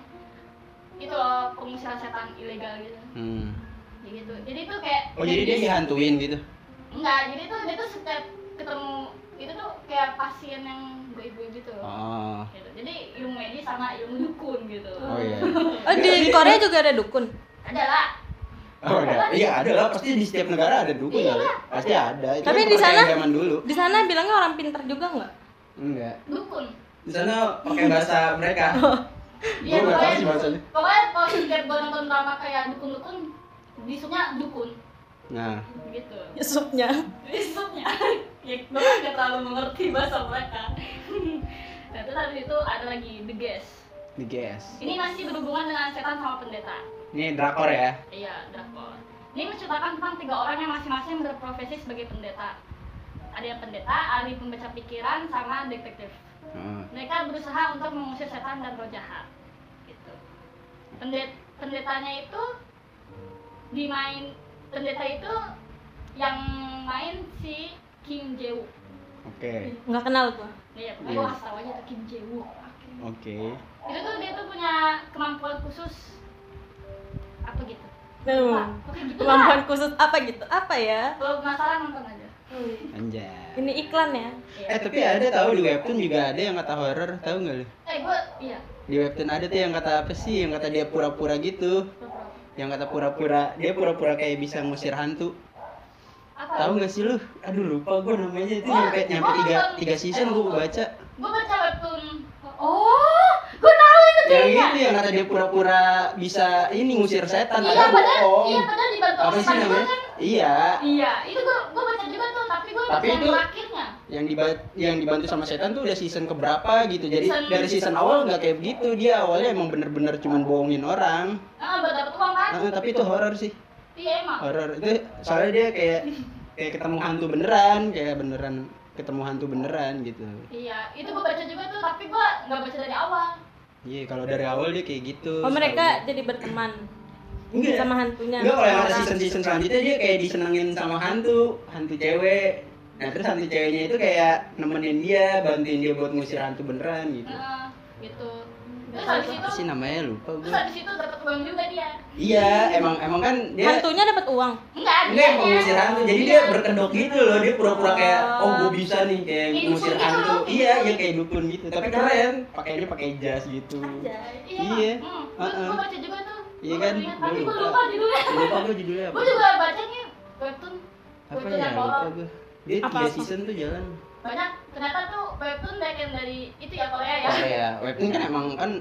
[SPEAKER 1] itu loh pengusaha setan ilegal gitu.
[SPEAKER 3] Hmm.
[SPEAKER 1] Kayak gitu. Jadi tuh kayak
[SPEAKER 3] Oh jadi dia dihantuin gitu?
[SPEAKER 1] enggak, jadi tuh dia tuh setiap ketemu itu tuh kayak pasien yang gue-gue gitu.
[SPEAKER 3] Oh.
[SPEAKER 1] Gitu. Jadi ilmu medis sama ilmu dukun gitu.
[SPEAKER 3] Oh iya.
[SPEAKER 2] Oh, di Korea juga ada dukun.
[SPEAKER 1] Adalah
[SPEAKER 3] Oh, ada. Iya, ada lah. Pasti di setiap negara ada dukun
[SPEAKER 1] Iya.
[SPEAKER 3] kali. Pasti ada. Itu
[SPEAKER 2] Tapi
[SPEAKER 3] kan
[SPEAKER 2] di
[SPEAKER 3] kepercayaan
[SPEAKER 2] sana-
[SPEAKER 3] zaman dulu.
[SPEAKER 2] Di sana bilangnya orang pintar juga nggak?
[SPEAKER 3] Enggak.
[SPEAKER 1] dukun.
[SPEAKER 4] Di sana pakai bahasa mereka.
[SPEAKER 1] Iya,
[SPEAKER 3] Gua nggak tahu
[SPEAKER 1] pokoknya
[SPEAKER 3] sih bahasanya.
[SPEAKER 1] pokoknya kalau setiap gue nonton drama kayak dukun-dukun bisunya dukun
[SPEAKER 3] Nah,
[SPEAKER 1] gitu
[SPEAKER 2] Yusupnya.
[SPEAKER 1] bisunya ya gue kan gak terlalu mengerti bahasa mereka nah terus habis itu ada lagi the guest
[SPEAKER 3] di GS.
[SPEAKER 1] ini masih berhubungan dengan setan sama pendeta
[SPEAKER 3] Ini drakor ya.
[SPEAKER 1] iya drakor ini menceritakan tentang tiga orang yang masing-masing berprofesi sebagai pendeta ada yang pendeta, ahli pembaca pikiran, sama detektif
[SPEAKER 3] Heeh.
[SPEAKER 1] mereka berusaha untuk mengusir setan dan roh jahat gitu Pendet- pendetanya itu dimain pendeta itu yang main si Kim Jewu
[SPEAKER 3] Oke.
[SPEAKER 2] Nggak kenal gua.
[SPEAKER 1] ya pokoknya
[SPEAKER 3] Iya.
[SPEAKER 1] gua kasih tau aja tuh Kim Jewu
[SPEAKER 3] Oke.
[SPEAKER 1] itu tuh dia tuh punya kemampuan khusus apa gitu
[SPEAKER 2] Tuh.
[SPEAKER 1] Pak, pokoknya gitu lah
[SPEAKER 2] Nah, Kemampuan khusus apa gitu? Apa ya?
[SPEAKER 1] kalau penasaran nonton aja
[SPEAKER 3] iya. Anjay.
[SPEAKER 2] Ini iklan ya.
[SPEAKER 1] Iya.
[SPEAKER 3] Eh, tapi ada tahu di webtoon juga ada yang kata horor, tahu nggak lu?
[SPEAKER 1] eh gua iya
[SPEAKER 3] Di webtoon ada tuh yang kata apa sih? Yang kata dia pura-pura gitu.
[SPEAKER 1] beberapa
[SPEAKER 3] Yang kata pura-pura, dia pura-pura kayak bisa ngusir hantu.
[SPEAKER 1] apa
[SPEAKER 3] Tahu nggak sih lu? Aduh, lupa gua namanya itu nyampe nyampe tiga tiga season gua baca.
[SPEAKER 1] gua baca webtoon oh gua tahu itu
[SPEAKER 3] yang
[SPEAKER 1] ceritanya.
[SPEAKER 3] itu yang kata dia pura-pura bisa ini ngusir setan
[SPEAKER 1] Iya
[SPEAKER 3] padahal
[SPEAKER 1] padahal,
[SPEAKER 3] bohong
[SPEAKER 1] iya padahal dibantu
[SPEAKER 3] apa
[SPEAKER 1] orang
[SPEAKER 3] sih
[SPEAKER 1] Padahal
[SPEAKER 3] namanya
[SPEAKER 1] kan
[SPEAKER 3] iya
[SPEAKER 1] Iya, itu gua gua baca juga tuh, tapi gua
[SPEAKER 3] Tapi
[SPEAKER 1] baca yang
[SPEAKER 3] itu-
[SPEAKER 1] terakhirnya.
[SPEAKER 3] yang dibantu yang dibantu sama setan tuh udah season keberapa gitu jadi
[SPEAKER 1] Season-
[SPEAKER 3] dari season awal nggak kayak begitu dia awalnya emang bener-bener cuman bohongin orang
[SPEAKER 1] Ah, buat dapet uang kan?
[SPEAKER 3] Nah, tapi itu horor sih
[SPEAKER 1] Iya emang.
[SPEAKER 3] horor itu soalnya dia kayak kayak ketemu hantu beneran kayak beneran ketemu hantu beneran gitu
[SPEAKER 1] Iya, itu gua baca juga tuh, tapi gua nggak baca dari awal.
[SPEAKER 3] iya kalau dari awal dia kayak gitu
[SPEAKER 2] Oh, mereka jadi berteman
[SPEAKER 3] enggak
[SPEAKER 2] sama hantunya.
[SPEAKER 3] Enggak kalau yang ada season-season selanjutnya dia kayak disenengin sama hantu, hantu cewek. Nah terus hantu ceweknya itu kayak nemenin dia, bantuin dia buat ngusir hantu beneran gitu.
[SPEAKER 1] Heeh, gitu. Terus habis
[SPEAKER 3] Apa
[SPEAKER 1] itu,
[SPEAKER 3] sih namanya lupa
[SPEAKER 1] terus
[SPEAKER 3] gue.
[SPEAKER 1] habis itu dapet uang uang juga dia
[SPEAKER 3] Iya, emang emang kan dia
[SPEAKER 2] hantunya dapat uang
[SPEAKER 1] enggak
[SPEAKER 3] dia
[SPEAKER 1] dia Iya.
[SPEAKER 3] yang mengusir hantu. Jadi dia berkedok gitu loh, dia pura-pura kayak oh gue bisa nih kayak
[SPEAKER 1] Kayak
[SPEAKER 3] mengusir
[SPEAKER 1] dukun gitu
[SPEAKER 3] hantu.
[SPEAKER 1] loh.
[SPEAKER 3] Iya, iya kayak dukun gitu. Tapi keren, pakainya pakai jas gitu. Iya.
[SPEAKER 1] iya hmm. Gua-
[SPEAKER 3] Uh-uh.
[SPEAKER 1] gua baca juga tuh
[SPEAKER 3] Iya
[SPEAKER 1] Gua
[SPEAKER 3] kan?
[SPEAKER 1] ingat, tapi
[SPEAKER 3] Gua
[SPEAKER 1] gua
[SPEAKER 3] lupa.
[SPEAKER 1] lupa judulnya
[SPEAKER 3] Lupa gue judulnya apa?
[SPEAKER 1] gua juga bacanya webtoon
[SPEAKER 3] Apa
[SPEAKER 1] webtoon
[SPEAKER 3] ya?
[SPEAKER 1] yang
[SPEAKER 3] Lupa
[SPEAKER 1] horor
[SPEAKER 3] gue. Dia tiga
[SPEAKER 2] Apa-apa.
[SPEAKER 3] season tuh jalan.
[SPEAKER 1] banyak ternyata tuh webtoon banyak yang dari itu ya Korea ya
[SPEAKER 3] Korea. Webtoon kan emang kan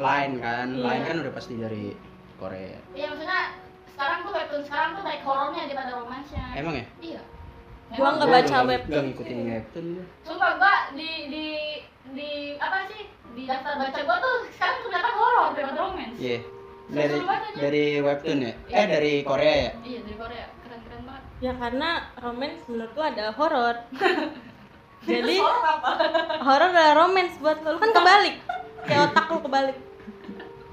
[SPEAKER 3] lain kan,
[SPEAKER 2] Iya.
[SPEAKER 3] lain kan udah pasti dari Korea.
[SPEAKER 1] iya maksudnya sekarang tuh webtoon sekarang tuh baik horornya daripada romansnya
[SPEAKER 3] Emang ya?
[SPEAKER 1] iya
[SPEAKER 2] Gua
[SPEAKER 1] Emang.
[SPEAKER 2] nggak
[SPEAKER 3] Gua
[SPEAKER 2] baca
[SPEAKER 3] nggak-
[SPEAKER 2] webtoon.
[SPEAKER 3] nggak ngikutin webtoon. ya. gua.
[SPEAKER 1] Sumpah gua di di di apa sih di daftar baca gua tuh sekarang kebanyakan horor daripada romance.
[SPEAKER 3] Iya.
[SPEAKER 1] Seru
[SPEAKER 3] Dari
[SPEAKER 1] banget aja.
[SPEAKER 3] dari webtoon ya?
[SPEAKER 1] Iya.
[SPEAKER 3] Eh dari Korea ya?
[SPEAKER 1] Iya dari Korea keren keren banget.
[SPEAKER 2] ya karena romance menurut gua ada horor jadi
[SPEAKER 1] Terus horor apa?
[SPEAKER 2] horor adalah romance buat lo Lu kan kebalik kayak otak lu kebalik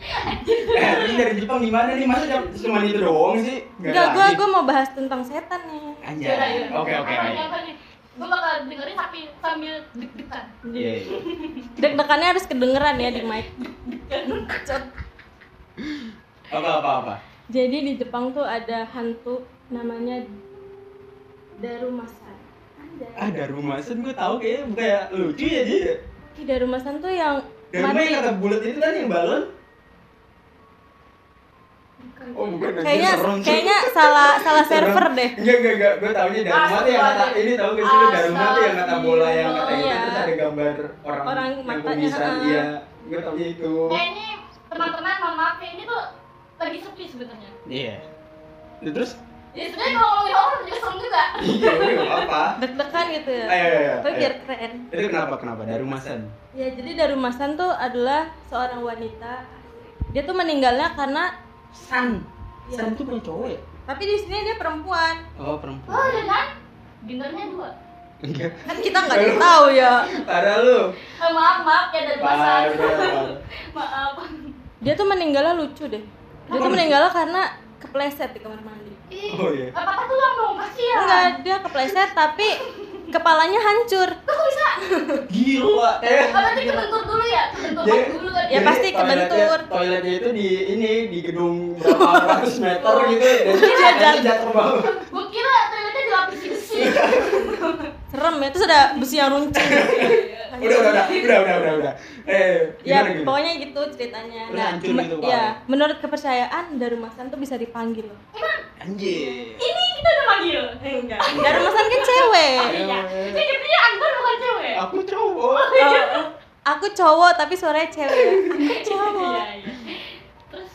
[SPEAKER 4] Eh, ini dari Jepang gimana nih? Masa jam- cuma itu doang sih? Nggak
[SPEAKER 2] enggak gua
[SPEAKER 4] lagi.
[SPEAKER 2] gua mau bahas tentang setan nih
[SPEAKER 3] Anjay.
[SPEAKER 1] Yaudah, yaudah.
[SPEAKER 4] Iya, Oke, oke,
[SPEAKER 1] Iya, Apa
[SPEAKER 4] oke.
[SPEAKER 1] nih, apa nih? Gua bakal dengerin tapi sambil deg-degan.
[SPEAKER 3] Iya. iya.
[SPEAKER 2] deg-degannya harus kedengeran ya di mic
[SPEAKER 4] Apa apa apa?
[SPEAKER 2] jadi di Jepang tuh ada hantu namanya Darumasan
[SPEAKER 4] Ah, Darumasan gua tahu kayaknya bukan ya lucu ya dia.
[SPEAKER 2] Ih, Darumasan tuh yang
[SPEAKER 4] Daruma
[SPEAKER 2] ya?
[SPEAKER 4] yang kata bulat itu kan yang balon. Oh, bukan. anjir,
[SPEAKER 2] kayaknya
[SPEAKER 4] serem sih.
[SPEAKER 2] kayaknya salah salah
[SPEAKER 4] Serem.
[SPEAKER 2] server deh
[SPEAKER 4] Enggak, enggak, enggak. Gua taunya Daruma tuh yang ya, kata ini tahu gak sih lu Daruma tuh yang kata bola yang kata itu
[SPEAKER 2] Iya.
[SPEAKER 4] terus ada gambar orang,
[SPEAKER 2] Orang
[SPEAKER 4] yang
[SPEAKER 2] matanya, Eh.
[SPEAKER 4] kumisan.
[SPEAKER 2] ah.
[SPEAKER 4] Iya, gua taunya itu.
[SPEAKER 1] Nah ini teman-teman mohon maaf ya, ini tuh lagi sepi sebenarnya.
[SPEAKER 3] Iya.
[SPEAKER 4] Terus
[SPEAKER 1] Ya
[SPEAKER 2] Iya,
[SPEAKER 1] sebenarnya kalau ngomongin horor juga serem juga.
[SPEAKER 4] iya, gue nggak apa-apa.
[SPEAKER 2] deg-degan gitu ya
[SPEAKER 4] Ayo, ayo, ayo.
[SPEAKER 2] tapi
[SPEAKER 4] ayo.
[SPEAKER 2] biar keren
[SPEAKER 4] Itu kenapa? Kenapa? Darumasan.
[SPEAKER 2] ya jadi Darumasan tuh adalah seorang wanita dia tuh meninggalnya karena
[SPEAKER 3] San. San itu punya cowok ya?
[SPEAKER 2] tapi di sini dia perempuan
[SPEAKER 3] Oh
[SPEAKER 1] Oh
[SPEAKER 3] perempuan.
[SPEAKER 1] dengan gendernya dua.
[SPEAKER 3] Enggak.
[SPEAKER 2] kan kita nggak tahu ya
[SPEAKER 4] Parah lu.
[SPEAKER 1] Eh, maaf maaf ya dari
[SPEAKER 4] Parah,
[SPEAKER 1] pasar.
[SPEAKER 4] parah.
[SPEAKER 1] Maaf.
[SPEAKER 2] dia tuh meninggalnya lucu deh dia tuh meninggalnya karena kepleset di kamar mandi
[SPEAKER 1] Ih,
[SPEAKER 4] Oh, iya.
[SPEAKER 1] Apa-apa tulang dong, ya. kasihan.
[SPEAKER 2] enggak dia kepleset tapi kepalanya hancur
[SPEAKER 4] Gila. Eh.
[SPEAKER 2] Iya.
[SPEAKER 1] Oh, berarti kebentur dulu ya? Kebentur
[SPEAKER 4] Jadi-
[SPEAKER 1] pas dulu tadi.
[SPEAKER 2] Ya,
[SPEAKER 4] jadi
[SPEAKER 2] pasti
[SPEAKER 4] toiletnya-
[SPEAKER 2] kebentur.
[SPEAKER 4] Toiletnya itu di ini di gedung berapa ratus meter
[SPEAKER 2] Oh,
[SPEAKER 4] gitu.
[SPEAKER 2] iya,
[SPEAKER 4] Dan jatuh jatuh ke bawah.
[SPEAKER 1] Gue kira gitu ternyata dilapisi besi.
[SPEAKER 2] serem ya terus ada besi yang runcing
[SPEAKER 4] Udah, udah, udah, udah, udah, udah, udah. Eh,
[SPEAKER 2] ya
[SPEAKER 4] gimana, gimana?
[SPEAKER 2] pokoknya gitu ceritanya
[SPEAKER 3] Terus hancur
[SPEAKER 2] me-
[SPEAKER 3] gitu, Pak.
[SPEAKER 2] ya menurut kepercayaan Darumasan tuh bisa dipanggil loh
[SPEAKER 3] Anjir.
[SPEAKER 1] Ini kita udah manggil. Eh,
[SPEAKER 2] enggak Darumasan kan cewek
[SPEAKER 1] Iya. Ini jadinya Akbar bukan cewek.
[SPEAKER 4] Aku cowok.
[SPEAKER 2] Oh, aku cowok tapi suaranya cewek aku
[SPEAKER 1] Iya,
[SPEAKER 2] cowok
[SPEAKER 1] iya. Terus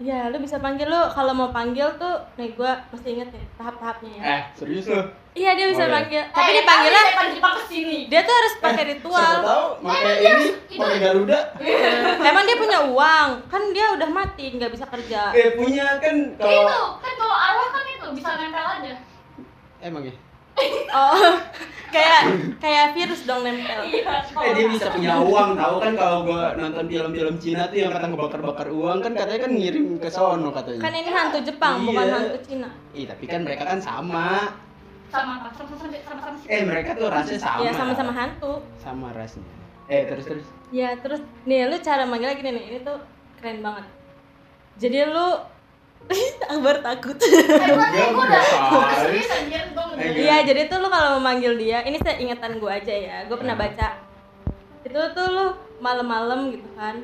[SPEAKER 2] ya lu bisa panggil lu kalau mau panggil tuh nih gua mesti inget ya tahap-tahapnya ya
[SPEAKER 4] Eh, serius lu?
[SPEAKER 2] iya dia bisa
[SPEAKER 4] Boleh. Eh.
[SPEAKER 2] panggil tapi
[SPEAKER 1] eh,
[SPEAKER 2] dipanggilnya
[SPEAKER 1] tapi Saya panggil kesini.
[SPEAKER 2] dia tuh harus pakai ritual
[SPEAKER 4] Siapa tahu
[SPEAKER 2] Iya,
[SPEAKER 4] pakai ini,
[SPEAKER 1] itu-
[SPEAKER 4] pakai Garuda.
[SPEAKER 2] emang dia punya uang kan dia udah mati nggak bisa kerja
[SPEAKER 4] Eh, punya kan
[SPEAKER 1] Itu
[SPEAKER 4] kalau
[SPEAKER 1] kan kalau arwah kan itu bisa nempel aja.
[SPEAKER 3] Emang ya?
[SPEAKER 2] oh kayak kayak virus dong nempel
[SPEAKER 1] Iya.
[SPEAKER 4] Eh dia bisa punya uang tahu kan kalau gua nonton film-film Cina tuh yang kata ngebakar-bakar uang kan katanya kan ngirim ke sono
[SPEAKER 2] kan
[SPEAKER 4] katanya.
[SPEAKER 2] ini hantu Jepang bukan
[SPEAKER 4] Iya.
[SPEAKER 2] hantu Cina
[SPEAKER 3] Ih tapi kan mereka kan sama.
[SPEAKER 1] sama apa? Sama sama sama sama
[SPEAKER 4] Eh mereka tuh rasnya sama.
[SPEAKER 2] ya sama-sama hantu
[SPEAKER 3] Sama rasnya.
[SPEAKER 4] Eh terus terus.
[SPEAKER 2] ya terus nih lu cara manggilnya gini nih ini tuh keren banget jadi lu Akbar takut
[SPEAKER 1] Eh, gua nih gua udah.
[SPEAKER 4] Biasa.
[SPEAKER 1] Gua serius anjir, gua udah.
[SPEAKER 4] Iya.
[SPEAKER 2] Iya, jadi tuh lu kalau memanggil dia, ini saya ingatan gue aja ya, gue
[SPEAKER 4] Nah.
[SPEAKER 2] pernah baca. Itu tuh lu malam-malam gitu kan,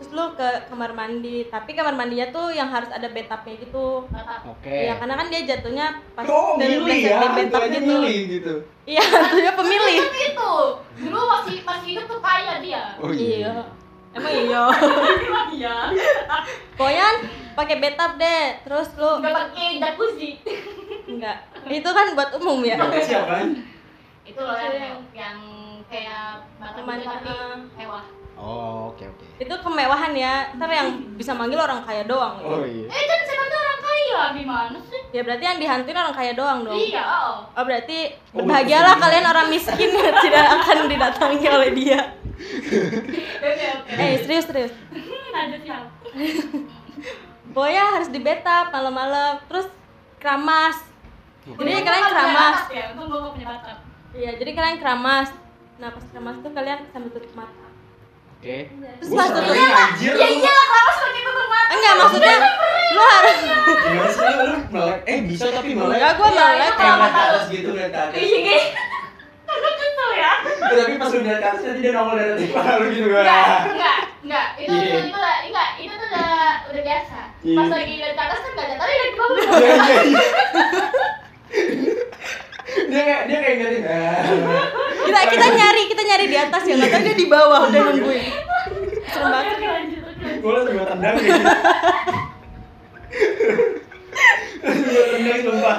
[SPEAKER 2] terus lu ke kamar mandi, tapi kamar mandinya tuh yang harus ada bathtubnya gitu.
[SPEAKER 3] Oke.
[SPEAKER 2] Iya, karena kan dia jatuhnya pas
[SPEAKER 4] Oh Eh. milih
[SPEAKER 2] pleset
[SPEAKER 4] ya,
[SPEAKER 2] di
[SPEAKER 4] itu
[SPEAKER 2] bathtub
[SPEAKER 4] aja
[SPEAKER 2] gitu.
[SPEAKER 4] milih gitu.
[SPEAKER 2] Iya, hantunya pemilih.
[SPEAKER 1] Tapi kan itu dulu masih masih hidup tuh kaya dia.
[SPEAKER 4] Oh
[SPEAKER 2] Iya. Emang iya.
[SPEAKER 1] Iya.
[SPEAKER 2] Pokoknya kan pakai bathtub deh, terus lu
[SPEAKER 1] Enggak pakai jacuzzi.
[SPEAKER 2] enggak. Itu kan buat umum ya.
[SPEAKER 4] Gak siapa kan?
[SPEAKER 1] itu loh
[SPEAKER 2] Iya.
[SPEAKER 1] yang yang kayak batu
[SPEAKER 2] Teman,
[SPEAKER 1] bata tapi
[SPEAKER 2] uh.
[SPEAKER 1] mewah
[SPEAKER 3] Oh oke oke.
[SPEAKER 2] Itu kemewahan ya, ntar yang bisa manggil orang kaya doang. gitu.
[SPEAKER 4] Oh iya.
[SPEAKER 1] eh kan sebenarnya orang kaya gimana sih
[SPEAKER 2] Ya berarti yang dihantuin orang kaya doang dong.
[SPEAKER 1] iya oh.
[SPEAKER 2] Oh berarti
[SPEAKER 4] Oh,
[SPEAKER 2] berbahagialah
[SPEAKER 4] iya.
[SPEAKER 2] kalian orang miskin yang tidak akan didatangi oleh dia.
[SPEAKER 1] oke oke
[SPEAKER 2] Eh serius serius.
[SPEAKER 1] ada siapa
[SPEAKER 2] Pokoknya harus di bathtub malam-malam, terus keramas. Jadi
[SPEAKER 1] Untung
[SPEAKER 2] kalian
[SPEAKER 1] gua punya
[SPEAKER 2] keramas.
[SPEAKER 1] batas ya untung gua gak punya batas
[SPEAKER 2] Iya, jadi kalian keramas. Nah pas keramas tuh kalian sambil tutup mata.
[SPEAKER 3] Oke.
[SPEAKER 2] Terus
[SPEAKER 4] Gua
[SPEAKER 2] pas iya.
[SPEAKER 4] serem
[SPEAKER 2] tutup
[SPEAKER 4] anjir.
[SPEAKER 3] Iya,
[SPEAKER 1] ya iya keramas pakai tutup mata
[SPEAKER 2] enggak maksudnya lu harus
[SPEAKER 3] Gimana sih lu melek? Eh bisa tapi
[SPEAKER 2] enggak
[SPEAKER 3] melek.
[SPEAKER 2] gue
[SPEAKER 1] Iya, itu kalau-
[SPEAKER 2] melek ya
[SPEAKER 3] Kayak ngeliat ke atas gitu ngeliat ke atas.
[SPEAKER 1] Iya kayak Karena kesel ya
[SPEAKER 3] Tapi pas udah ke atas nanti dia nongol dari atas kepala lu gitu.
[SPEAKER 1] Enggak,
[SPEAKER 3] Wah.
[SPEAKER 1] enggak, enggak Itu
[SPEAKER 3] Iya.
[SPEAKER 1] itu enggak, enggak, itu tuh udah, udah biasa
[SPEAKER 3] Iya.
[SPEAKER 1] Pas lagi dari ke atas kan enggak ada, tapi dari bawah
[SPEAKER 3] Iya, iya, iya. Dia kayak dia kayak ngeliatin. ah.
[SPEAKER 2] kita kita nyari kita nyari di atas ya nggak tahu dia di bawah udah nungguin serem
[SPEAKER 1] Oke,
[SPEAKER 2] banget
[SPEAKER 1] oke lanjut, oke lanjut
[SPEAKER 3] gue langsung gue tendang kayak gitu. langsung gue tendang sumpah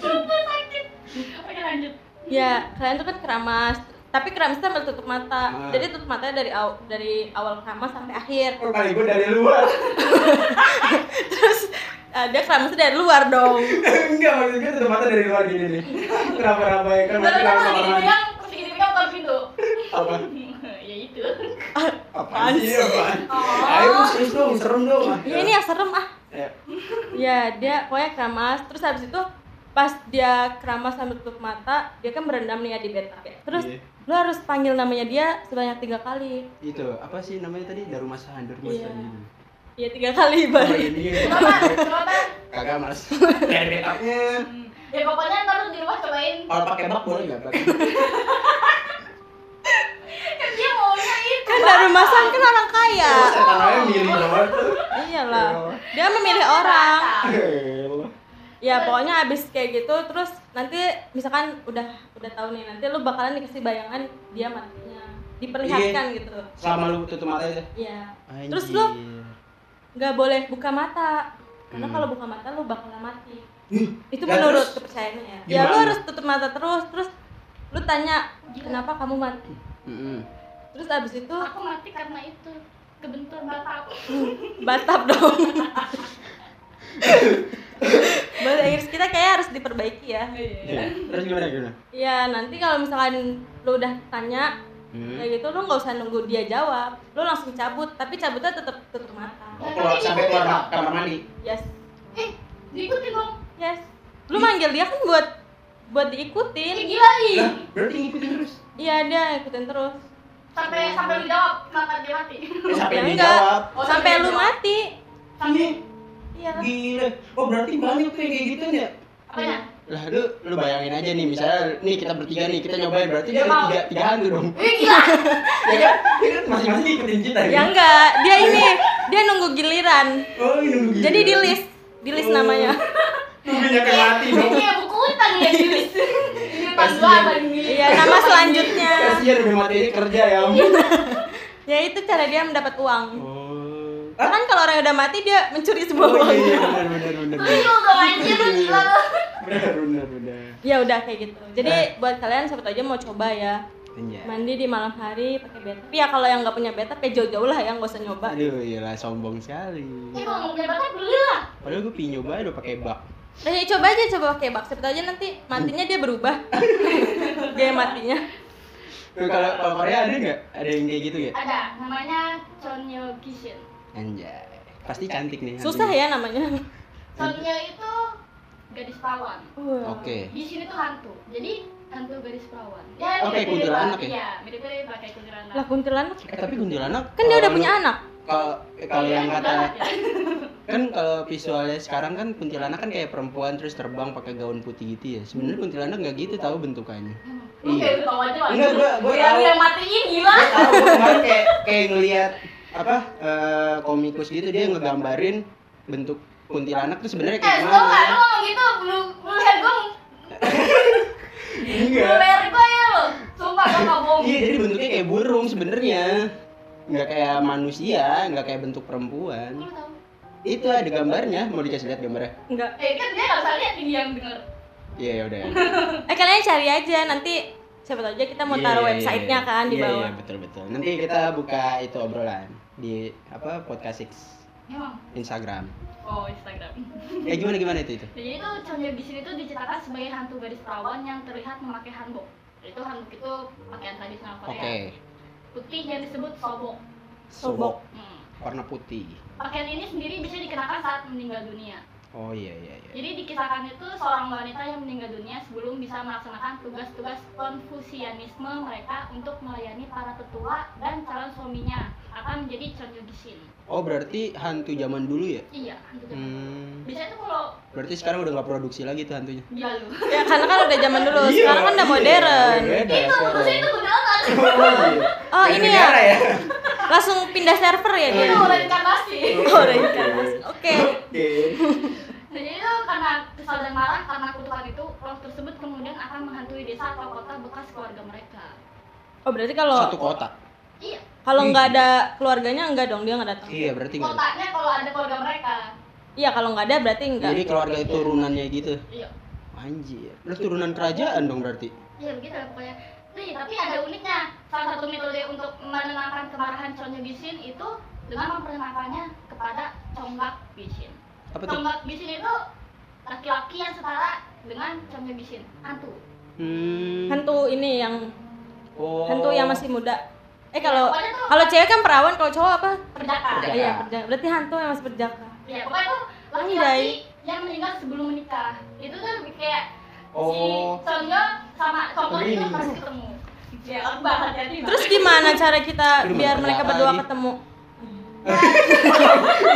[SPEAKER 1] Sumpah sakit Oke lanjut
[SPEAKER 2] ya kalian tuh kan keramas tapi keramas tuh sambil tutup mata
[SPEAKER 3] Ah.
[SPEAKER 2] jadi tutup matanya dari aw- dari awal keramas sampai akhir
[SPEAKER 3] Oh, kali gue dari luar
[SPEAKER 2] Eh, dia keramasnya dari luar dong
[SPEAKER 3] enggak maksud gue tutup mata dari luar gini nih kenapa napa ya kan
[SPEAKER 1] Baru kan
[SPEAKER 3] masih kenapa
[SPEAKER 1] lagi
[SPEAKER 3] napa
[SPEAKER 1] dipegang, terus lagi dipegang bukan pintu
[SPEAKER 3] apa
[SPEAKER 1] Ya itu
[SPEAKER 3] apaan sih apaan
[SPEAKER 1] Oh.
[SPEAKER 3] ayo serius dong serem dong ah.
[SPEAKER 2] ya ini yang serem ah
[SPEAKER 3] Ya.
[SPEAKER 2] ya dia pokoknya keramas terus habis itu pas dia keramas sambil tutup mata dia kan berendam nih ya di bentang terus
[SPEAKER 3] Iya.
[SPEAKER 2] lu harus panggil namanya dia sebanyak tiga kali
[SPEAKER 3] itu apa sih namanya tadi dari rumah sahan dari rumah
[SPEAKER 2] Iya.
[SPEAKER 3] sahan gitu
[SPEAKER 2] ya tiga kali
[SPEAKER 3] Sama
[SPEAKER 2] balik
[SPEAKER 3] ini
[SPEAKER 1] Kenapa? Kenapa?
[SPEAKER 3] kagak mas dari backupnya
[SPEAKER 1] Hmm. Ya pokoknya ntar lu di rumah cobain
[SPEAKER 3] kalau pakai bak boleh nggak bak
[SPEAKER 1] Kan dia maunya itu
[SPEAKER 2] kan dari masan kan orang kaya
[SPEAKER 3] setan aja milih banget
[SPEAKER 2] iyalah dia memilih orang
[SPEAKER 3] Elah.
[SPEAKER 2] ya pokoknya abis kayak gitu terus nanti misalkan udah udah tahu nih nanti lu bakalan dikasih bayangan dia matinya diperlihatkan
[SPEAKER 3] Iya.
[SPEAKER 2] gitu
[SPEAKER 3] selama lu tutup mata aja
[SPEAKER 2] ya Terus lu? nggak boleh buka mata karena
[SPEAKER 3] Hmm.
[SPEAKER 2] kalau buka mata lu bakalan mati
[SPEAKER 3] Ih,
[SPEAKER 2] itu
[SPEAKER 3] lah
[SPEAKER 2] menurut
[SPEAKER 3] terus?
[SPEAKER 2] kepercayaannya ya ya lu
[SPEAKER 3] Gimana?
[SPEAKER 2] harus tutup mata terus terus lu tanya kenapa kamu mati
[SPEAKER 3] Mm-mm.
[SPEAKER 2] terus abis itu
[SPEAKER 1] Aku mati karena itu Kebentur mata aku
[SPEAKER 2] batap dong bahasa Inggris kita kayak harus diperbaiki ya
[SPEAKER 3] Iya. Terus gimana gimana?
[SPEAKER 2] ya nanti kalau misalkan lu udah tanya
[SPEAKER 3] Hmm.
[SPEAKER 2] kayak gitu lu nggak usah nunggu dia jawab lu langsung cabut tapi cabutnya tetap tutup mata
[SPEAKER 3] Oh, keluar sampai keluar ma- kamar mandi.
[SPEAKER 2] yes
[SPEAKER 1] Eh, diikutin dong
[SPEAKER 2] yes lu manggil dia kan buat buat diikutin
[SPEAKER 1] Ini Eh, gila ih
[SPEAKER 3] Lah, berarti ngikutin terus.
[SPEAKER 2] Iya dia ikutin terus
[SPEAKER 1] Sampai sampai lu jawab kenapa dia mati
[SPEAKER 3] Eh, sampai
[SPEAKER 2] Ya,
[SPEAKER 3] dia
[SPEAKER 2] enggak.
[SPEAKER 3] jawab.
[SPEAKER 1] Oh,
[SPEAKER 2] sampai
[SPEAKER 1] sampai
[SPEAKER 2] lu
[SPEAKER 1] dia-
[SPEAKER 2] mati.
[SPEAKER 3] Iya,
[SPEAKER 2] Iya.
[SPEAKER 3] gila. Oh, berarti banyak tuh yang kayak gitu ya.
[SPEAKER 1] Apanya?
[SPEAKER 3] Lah lu lu bayangin aja nih misalnya nih kita bertiga nih kita nyobain berarti
[SPEAKER 2] Ya,
[SPEAKER 1] Dia
[SPEAKER 3] dia
[SPEAKER 1] mau.
[SPEAKER 3] tiga tiga hantu dong.
[SPEAKER 1] Ih gila
[SPEAKER 3] Ya kan? Ya kan masing-masing ngikutin kita
[SPEAKER 2] Ya
[SPEAKER 3] gitu.
[SPEAKER 2] enggak, dia ini dia nunggu giliran.
[SPEAKER 3] Oh, ini nunggu gitu.
[SPEAKER 2] Jadi di list, di list
[SPEAKER 3] Oh.
[SPEAKER 2] namanya.
[SPEAKER 3] Lu banyak yang mati
[SPEAKER 1] Ini
[SPEAKER 3] dong.
[SPEAKER 1] kayak buku utang ya Julis Ini utang gua apa ini?
[SPEAKER 2] Iya, nama selanjutnya.
[SPEAKER 3] Kasihan udah mati ini kerja ya.
[SPEAKER 2] Iya.
[SPEAKER 3] ampun.
[SPEAKER 2] Ya itu cara dia mendapat uang.
[SPEAKER 3] Oh. Ah?
[SPEAKER 2] Kan kalau orang yang udah mati dia mencuri semua
[SPEAKER 3] Oh, iya, iya,
[SPEAKER 2] uangnya.
[SPEAKER 3] benar benar benar.
[SPEAKER 1] Lu dong anjir lu gila lu
[SPEAKER 3] Benar benar benar.
[SPEAKER 2] Ya udah kayak gitu.
[SPEAKER 3] Nah.
[SPEAKER 2] Jadi buat kalian siapa tahu aja mau coba ya.
[SPEAKER 3] Iya.
[SPEAKER 2] Mandi di malam hari pakai bed. Tapi ya kalau yang nggak punya bed, tapi jauh-jauh lah ya nggak usah nyoba.
[SPEAKER 3] Aduh, iyalah sombong sekali.
[SPEAKER 1] Eh kalau mau punya bakat beli lah
[SPEAKER 3] Padahal gue pingin nyoba udah pakai bak.
[SPEAKER 2] Nah, ya coba aja coba pakai bak. Siapa tahu aja nanti matinya dia berubah. Gaya matinya.
[SPEAKER 3] Tuh, Kalau kalau Korea ada nggak? Ada yang kayak gitu ya?
[SPEAKER 1] Ada, namanya Chonyo Kishin
[SPEAKER 3] Anjay. Pasti cantik nih.
[SPEAKER 2] Susah ya namanya.
[SPEAKER 1] Chonyo itu gadis perawan
[SPEAKER 2] Wah.
[SPEAKER 3] Oke.
[SPEAKER 1] di sini tuh hantu jadi hantu garis perawan ya
[SPEAKER 3] Oh,
[SPEAKER 1] mirip-mirip
[SPEAKER 3] kayak kuntilanak
[SPEAKER 1] lah.
[SPEAKER 3] ya?
[SPEAKER 1] iya mirip-mirip pakai kuntilanak
[SPEAKER 2] Lah kuntilanak
[SPEAKER 3] Eh, tapi kuntilanak
[SPEAKER 2] kan dia udah
[SPEAKER 3] kalau- anu,
[SPEAKER 2] punya anak.
[SPEAKER 3] kalau kalau yang
[SPEAKER 1] kuntilanak
[SPEAKER 3] kata
[SPEAKER 1] ya.
[SPEAKER 3] kan kalau visualnya sekarang kan kuntilanak kan kayak perempuan terus terbang pakai gaun putih gitu ya sebenarnya kuntilanak nggak gitu tahu bentukannya
[SPEAKER 1] lu
[SPEAKER 3] Iya.
[SPEAKER 1] kayak udah tau aja lah
[SPEAKER 3] Enggak, gua- gua
[SPEAKER 1] yang
[SPEAKER 3] tahu.
[SPEAKER 1] yang matiin gila
[SPEAKER 3] Gua tahu gua kemarin kayak kayak ngelihat apa eh, komikus gitu dia ngegambarin bentuk kuntilanak tuh sebenarnya
[SPEAKER 1] eh
[SPEAKER 3] kayak
[SPEAKER 1] lu nggak lu
[SPEAKER 3] gimana
[SPEAKER 1] ngomong gitu lu lu lihat gue lu
[SPEAKER 3] enggak
[SPEAKER 1] lihat gue ya lu sumpah gue nggak bohong
[SPEAKER 3] Iya, jadi bentuknya kayak burung sebenarnya. Nggak kayak manusia, nggak kayak bentuk
[SPEAKER 1] Lu
[SPEAKER 3] perempuan.
[SPEAKER 1] tahu?
[SPEAKER 3] Itu ada gambarnya, mau dikasih lihat gambarnya.
[SPEAKER 2] Enggak.
[SPEAKER 1] eh kan dia nggak usah lihat ini yang denger
[SPEAKER 3] Iya, ya udah.
[SPEAKER 2] Eh kalian cari aja nanti siapa tahu aja kita mau taruh websitenya kan di
[SPEAKER 3] Iya,
[SPEAKER 2] bawah.
[SPEAKER 3] Iya, betul betul. Nanti kita buka itu obrolan di apa podcast Six
[SPEAKER 1] emang
[SPEAKER 3] Instagram.
[SPEAKER 1] oh Instagram
[SPEAKER 3] Eh gimana gimana itu itu?
[SPEAKER 1] jadi itu contohnya di sini tuh diciptakan sebagai hantu garis perawan yang terlihat memakai hanbok itu hanbok itu pakaian tradisional
[SPEAKER 2] Oh,
[SPEAKER 1] Korea
[SPEAKER 2] iya.
[SPEAKER 3] Oke.
[SPEAKER 1] putih yang disebut sobok
[SPEAKER 2] Sobok.
[SPEAKER 1] Hmm.
[SPEAKER 3] warna putih.
[SPEAKER 1] Pakaian ini sendiri bisa dikenakan saat meninggal dunia.
[SPEAKER 3] Oh iya iya iya.
[SPEAKER 1] Jadi dikisahkan itu seorang wanita yang meninggal dunia sebelum bisa melaksanakan tugas-tugas konfusianisme mereka untuk melayani para tetua dan calon suaminya akan menjadi Chonyogishin
[SPEAKER 4] Oh berarti hantu zaman dulu ya?
[SPEAKER 1] iya hantu Jepang
[SPEAKER 4] Hmm.
[SPEAKER 1] biasanya tuh kalau
[SPEAKER 4] Berarti sekarang udah nggak produksi lagi tuh hantunya.
[SPEAKER 1] gila lu
[SPEAKER 2] ya karena kan udah zaman dulu sekarang kan udah
[SPEAKER 4] iya,
[SPEAKER 2] modern
[SPEAKER 4] udah beda
[SPEAKER 3] ya,
[SPEAKER 1] itu
[SPEAKER 4] sekarang. iya.
[SPEAKER 1] maksudnya itu gudangan
[SPEAKER 2] oh ini ya
[SPEAKER 3] Negara ya.
[SPEAKER 2] langsung pindah server ya dia
[SPEAKER 1] itu reinkarnasi
[SPEAKER 2] oh reinkarnasi oke
[SPEAKER 3] Oke.
[SPEAKER 2] Iya.
[SPEAKER 1] jadi itu karena kesal dan marah karena kutukan itu roh tersebut kemudian akan menghantui desa atau kota bekas keluarga mereka
[SPEAKER 2] oh berarti kalau
[SPEAKER 4] Satu kota.
[SPEAKER 1] iya
[SPEAKER 2] kalau nggak ada keluarganya enggak dong dia nggak datang
[SPEAKER 4] Iya berarti nggak. ada.
[SPEAKER 1] kotanya kalau ada keluarga mereka
[SPEAKER 2] iya kalau nggak ada berarti enggak
[SPEAKER 4] Jadi keluarga turunannya gitu.
[SPEAKER 1] iya
[SPEAKER 4] Anjir. Lu turunan kerajaan dong berarti.
[SPEAKER 1] Iya begitu lah pokoknya. Nih, tapi ada uniknya. Salah satu metode untuk menenangkan kemarahan Chonyo Bishin itu dengan memperkenalkannya kepada Conggak Bishin.
[SPEAKER 4] Apa tuh?
[SPEAKER 1] Conggak Bishin itu laki-laki yang setara dengan Chonyo Bishin, hantu.
[SPEAKER 4] Hmm.
[SPEAKER 2] hantu ini yang
[SPEAKER 4] Oh.
[SPEAKER 2] hantu yang masih muda eh kalau
[SPEAKER 1] Iya, Pokoknya tuh
[SPEAKER 2] kalau cewek kan perawan kalau cowok apa
[SPEAKER 1] perjaka.
[SPEAKER 4] Perjaka.
[SPEAKER 2] iya perjaka berarti hantu yang masih perjaka
[SPEAKER 1] Iya, pokoknya tuh laki-laki yang meninggal sebelum menikah. Itu tuh lebih kayak si
[SPEAKER 4] Oh.
[SPEAKER 1] Chonyo sama Conggak itu
[SPEAKER 3] Really?
[SPEAKER 1] harus ketemu. Jelek Ya, banget jadi.
[SPEAKER 2] terus gimana cara kita
[SPEAKER 4] Aduh,
[SPEAKER 2] biar
[SPEAKER 4] mana
[SPEAKER 2] mereka
[SPEAKER 4] perjaka
[SPEAKER 2] berdua
[SPEAKER 4] lagi.
[SPEAKER 2] ketemu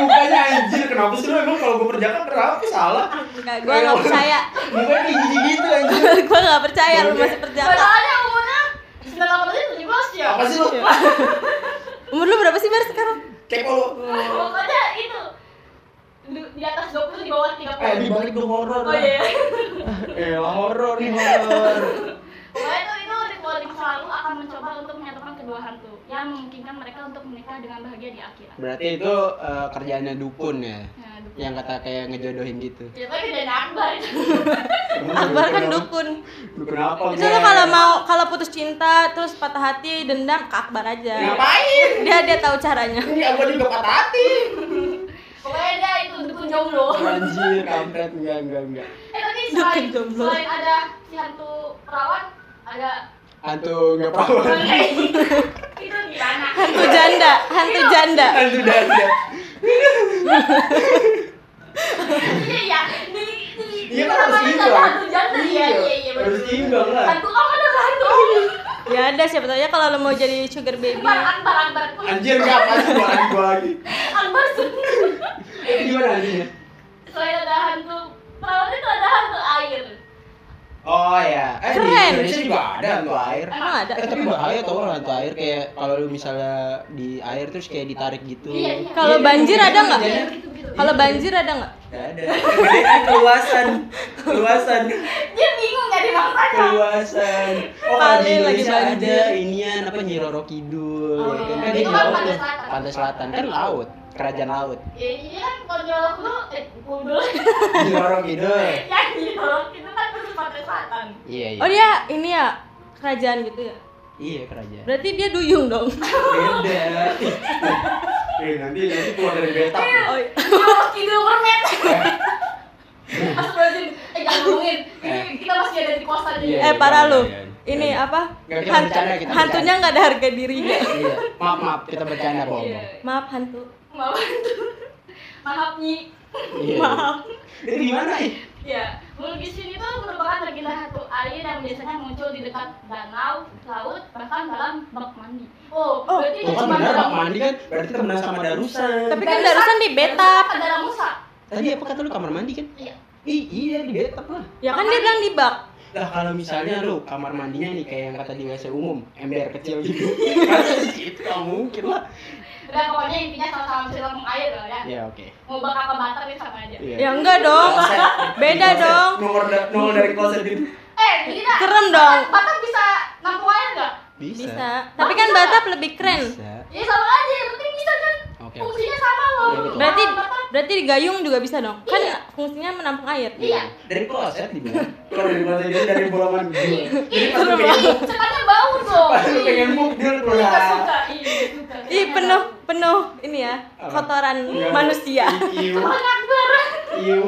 [SPEAKER 3] Mukanya anjir, kenapa sih lu emang kalau gue perjaka kenapa salah?
[SPEAKER 2] enggak gua nggak percaya
[SPEAKER 3] Mukanya kayak gini gitu anjir.
[SPEAKER 2] gua nggak percaya lu
[SPEAKER 3] Boleh.
[SPEAKER 2] masih perjaka
[SPEAKER 1] Soalnya umurnya 98 tahun 17 ya.
[SPEAKER 3] Apa sih lu?
[SPEAKER 2] umur lu berapa sih bar sekarang
[SPEAKER 3] Kepo lu.
[SPEAKER 1] Pokoknya itu Du- di atas 20 di bawah 30.
[SPEAKER 3] Eh, dibalik dong horor.
[SPEAKER 1] Oh iya.
[SPEAKER 3] Eh, horor nih horor.
[SPEAKER 1] Pokoknya itu itu ritual di masa lalu akan mencoba untuk menyatukan kedua hantu yang memungkinkan mereka untuk menikah dengan bahagia di akhirat.
[SPEAKER 4] Berarti itu eh, kerjaannya dukun ya.
[SPEAKER 3] Iya.
[SPEAKER 1] Nah, du-
[SPEAKER 4] Yang kata kayak ngejodohin gitu.
[SPEAKER 1] ya tapi gede akbar itu.
[SPEAKER 2] akbar kan dukun
[SPEAKER 3] Kenapa?
[SPEAKER 4] Oh,
[SPEAKER 2] itu
[SPEAKER 4] iya,
[SPEAKER 2] lu kalau mau kalau putus cinta terus patah hati dendam ke akbar aja
[SPEAKER 3] ngapain?
[SPEAKER 2] dia dia tahu caranya
[SPEAKER 3] Ini aku juga patah hati.
[SPEAKER 1] Pokoknya dia itu dukun jomblo.
[SPEAKER 3] Nah,
[SPEAKER 4] Anjir, kampret enggak enggak enggak.
[SPEAKER 1] Eh tapi
[SPEAKER 2] Dukun
[SPEAKER 1] selain,
[SPEAKER 2] jomblo.
[SPEAKER 1] selain ada si hantu perawan ada
[SPEAKER 4] Hantu enggak perawan.
[SPEAKER 1] itu gimana?
[SPEAKER 2] hantu janda hantu janda
[SPEAKER 3] Hantu dada.
[SPEAKER 1] Iya ya. Di di
[SPEAKER 3] Iya kan
[SPEAKER 1] di-
[SPEAKER 3] harus
[SPEAKER 1] namanya
[SPEAKER 3] imbang.
[SPEAKER 1] ada hantu janda iya iya iya. bener.
[SPEAKER 3] Harus imbang lah. Iya.
[SPEAKER 1] Hantu kamu ada hantu.
[SPEAKER 2] ya ada siapa tahu ya kalau lu mau jadi sugar baby
[SPEAKER 1] Akbar Akbar Akbar.
[SPEAKER 3] Anjir enggak apa sih gua gua lagi.
[SPEAKER 1] Akbar Sunni.
[SPEAKER 3] Eh, Gimana anjirnya?
[SPEAKER 1] Selain ada hantu perawan itu ada hantu air.
[SPEAKER 3] Oh ya, eh di
[SPEAKER 2] Keren.
[SPEAKER 3] Indonesia juga ada hantu air.
[SPEAKER 2] emang ada
[SPEAKER 4] Eh, tapi bahaya tau lah hantu air kayak kalau lu misalnya di air terus kayak ditarik gitu.
[SPEAKER 1] Iya, iya. gitu,
[SPEAKER 2] kalau
[SPEAKER 3] Iya,
[SPEAKER 2] banjir
[SPEAKER 3] iya,
[SPEAKER 2] ada nggak
[SPEAKER 3] iya.
[SPEAKER 1] Gitu-gitu.
[SPEAKER 2] kalau banjir ada nggak
[SPEAKER 3] Gak ada. Kegedean keluasan, keluasan,
[SPEAKER 1] Dia bingung gak di mangsanya.
[SPEAKER 3] keluasan. Oh, kalau di
[SPEAKER 2] Paling lagi
[SPEAKER 3] Indonesia ada
[SPEAKER 2] banjir.
[SPEAKER 4] inian apa Nyiroro Kidul
[SPEAKER 1] Oh,
[SPEAKER 4] ya kan
[SPEAKER 1] iya.
[SPEAKER 4] kan di
[SPEAKER 1] Itu kan
[SPEAKER 4] Jawa
[SPEAKER 1] pantai
[SPEAKER 4] tuh,
[SPEAKER 1] selatan.
[SPEAKER 4] pantai selatan kan
[SPEAKER 2] Iya.
[SPEAKER 4] laut kerajaan laut
[SPEAKER 1] Ya iya kan kalau nyolok lu eh kudul
[SPEAKER 3] Nyiroro Kidul.
[SPEAKER 1] yang nyolok itu kan terus pantai selatan.
[SPEAKER 4] iya iya
[SPEAKER 2] oh dia ini ya kerajaan gitu ya
[SPEAKER 4] iya kerajaan
[SPEAKER 2] berarti dia duyung dong Oh,
[SPEAKER 3] Beda. Eh nanti nanti keluar dari beta.
[SPEAKER 2] oh, iya.
[SPEAKER 1] Nyolok kidul permen. Astagfirullahaladzim, eh jangan ngomongin Ini kita masih ada di kuasa
[SPEAKER 4] Eh. Iya,
[SPEAKER 1] dia
[SPEAKER 2] eh parah
[SPEAKER 4] iya,
[SPEAKER 2] lu
[SPEAKER 4] iya, iya.
[SPEAKER 2] ini apa
[SPEAKER 4] Nggak, kita
[SPEAKER 2] Hant-
[SPEAKER 4] bercanda, kita
[SPEAKER 2] hantunya nggak ada harga dirinya
[SPEAKER 4] iya maaf maaf kita bercanda bohong
[SPEAKER 2] maaf hantu
[SPEAKER 1] Iya. Maaf Maaf Nyi
[SPEAKER 4] iya eh?
[SPEAKER 2] maaf
[SPEAKER 3] Itu gimana ih?
[SPEAKER 1] Ya, Bulgisin itu merupakan legenda hantu air yang biasanya muncul di dekat danau, laut, bahkan dalam bak mandi. Oh,
[SPEAKER 2] Oh.
[SPEAKER 1] berarti
[SPEAKER 4] Tuh kan benar bak mandi kan berarti temenan sama Darusan
[SPEAKER 2] tapi kan darusan di betap
[SPEAKER 1] Ada dalam musa.
[SPEAKER 4] tadi apa kata lu kamar mandi kan
[SPEAKER 1] Iya.
[SPEAKER 4] Ih, iya di bathtub lah
[SPEAKER 2] ya kan dia bilang di bak
[SPEAKER 4] lah kalau misalnya lu kamar mandinya nih kayak yang kata di WC umum ember kecil
[SPEAKER 3] Iya.
[SPEAKER 4] gitu Masa sih itu nggak mungkin lah
[SPEAKER 1] Udah pokoknya intinya sama-sama bisa ngomong air loh ya.
[SPEAKER 4] ya oke
[SPEAKER 1] Mau bak apa batak ya sama aja.
[SPEAKER 4] iya
[SPEAKER 2] ya enggak dong beda
[SPEAKER 3] Kloset.
[SPEAKER 2] dong
[SPEAKER 3] Nongol da- nongol dari kloset itu.
[SPEAKER 1] Eh, jadi dah.
[SPEAKER 2] Serem dong.
[SPEAKER 1] Batak, batak bisa nampung air nggak?
[SPEAKER 2] bisa tapi kan batap lebih keren
[SPEAKER 4] bisa
[SPEAKER 1] Ya sama aja, yang penting bisa kan.
[SPEAKER 4] oke oke.
[SPEAKER 1] Fungsinya sama loh.
[SPEAKER 4] Iya, betul.
[SPEAKER 2] berarti
[SPEAKER 1] Sama batak.
[SPEAKER 2] berarti di gayung juga bisa dong kan
[SPEAKER 1] Iya.
[SPEAKER 2] fungsinya menampung air
[SPEAKER 1] Iya.
[SPEAKER 4] dari kloset dibilang
[SPEAKER 3] Keluar dari kloset itu dari bola mandi. Jadi pas lu pengen
[SPEAKER 1] Ih, Ceritanya bau dong.
[SPEAKER 3] pas lu pengen muk dia
[SPEAKER 1] Iya,
[SPEAKER 3] keluar.
[SPEAKER 1] suka. Iya, suka.
[SPEAKER 2] Ih penuh penuh ini ya
[SPEAKER 4] Apa? Iya.
[SPEAKER 2] kotoran
[SPEAKER 3] Enggak.
[SPEAKER 2] manusia.
[SPEAKER 3] Iu,
[SPEAKER 1] Penakbar.
[SPEAKER 3] iu.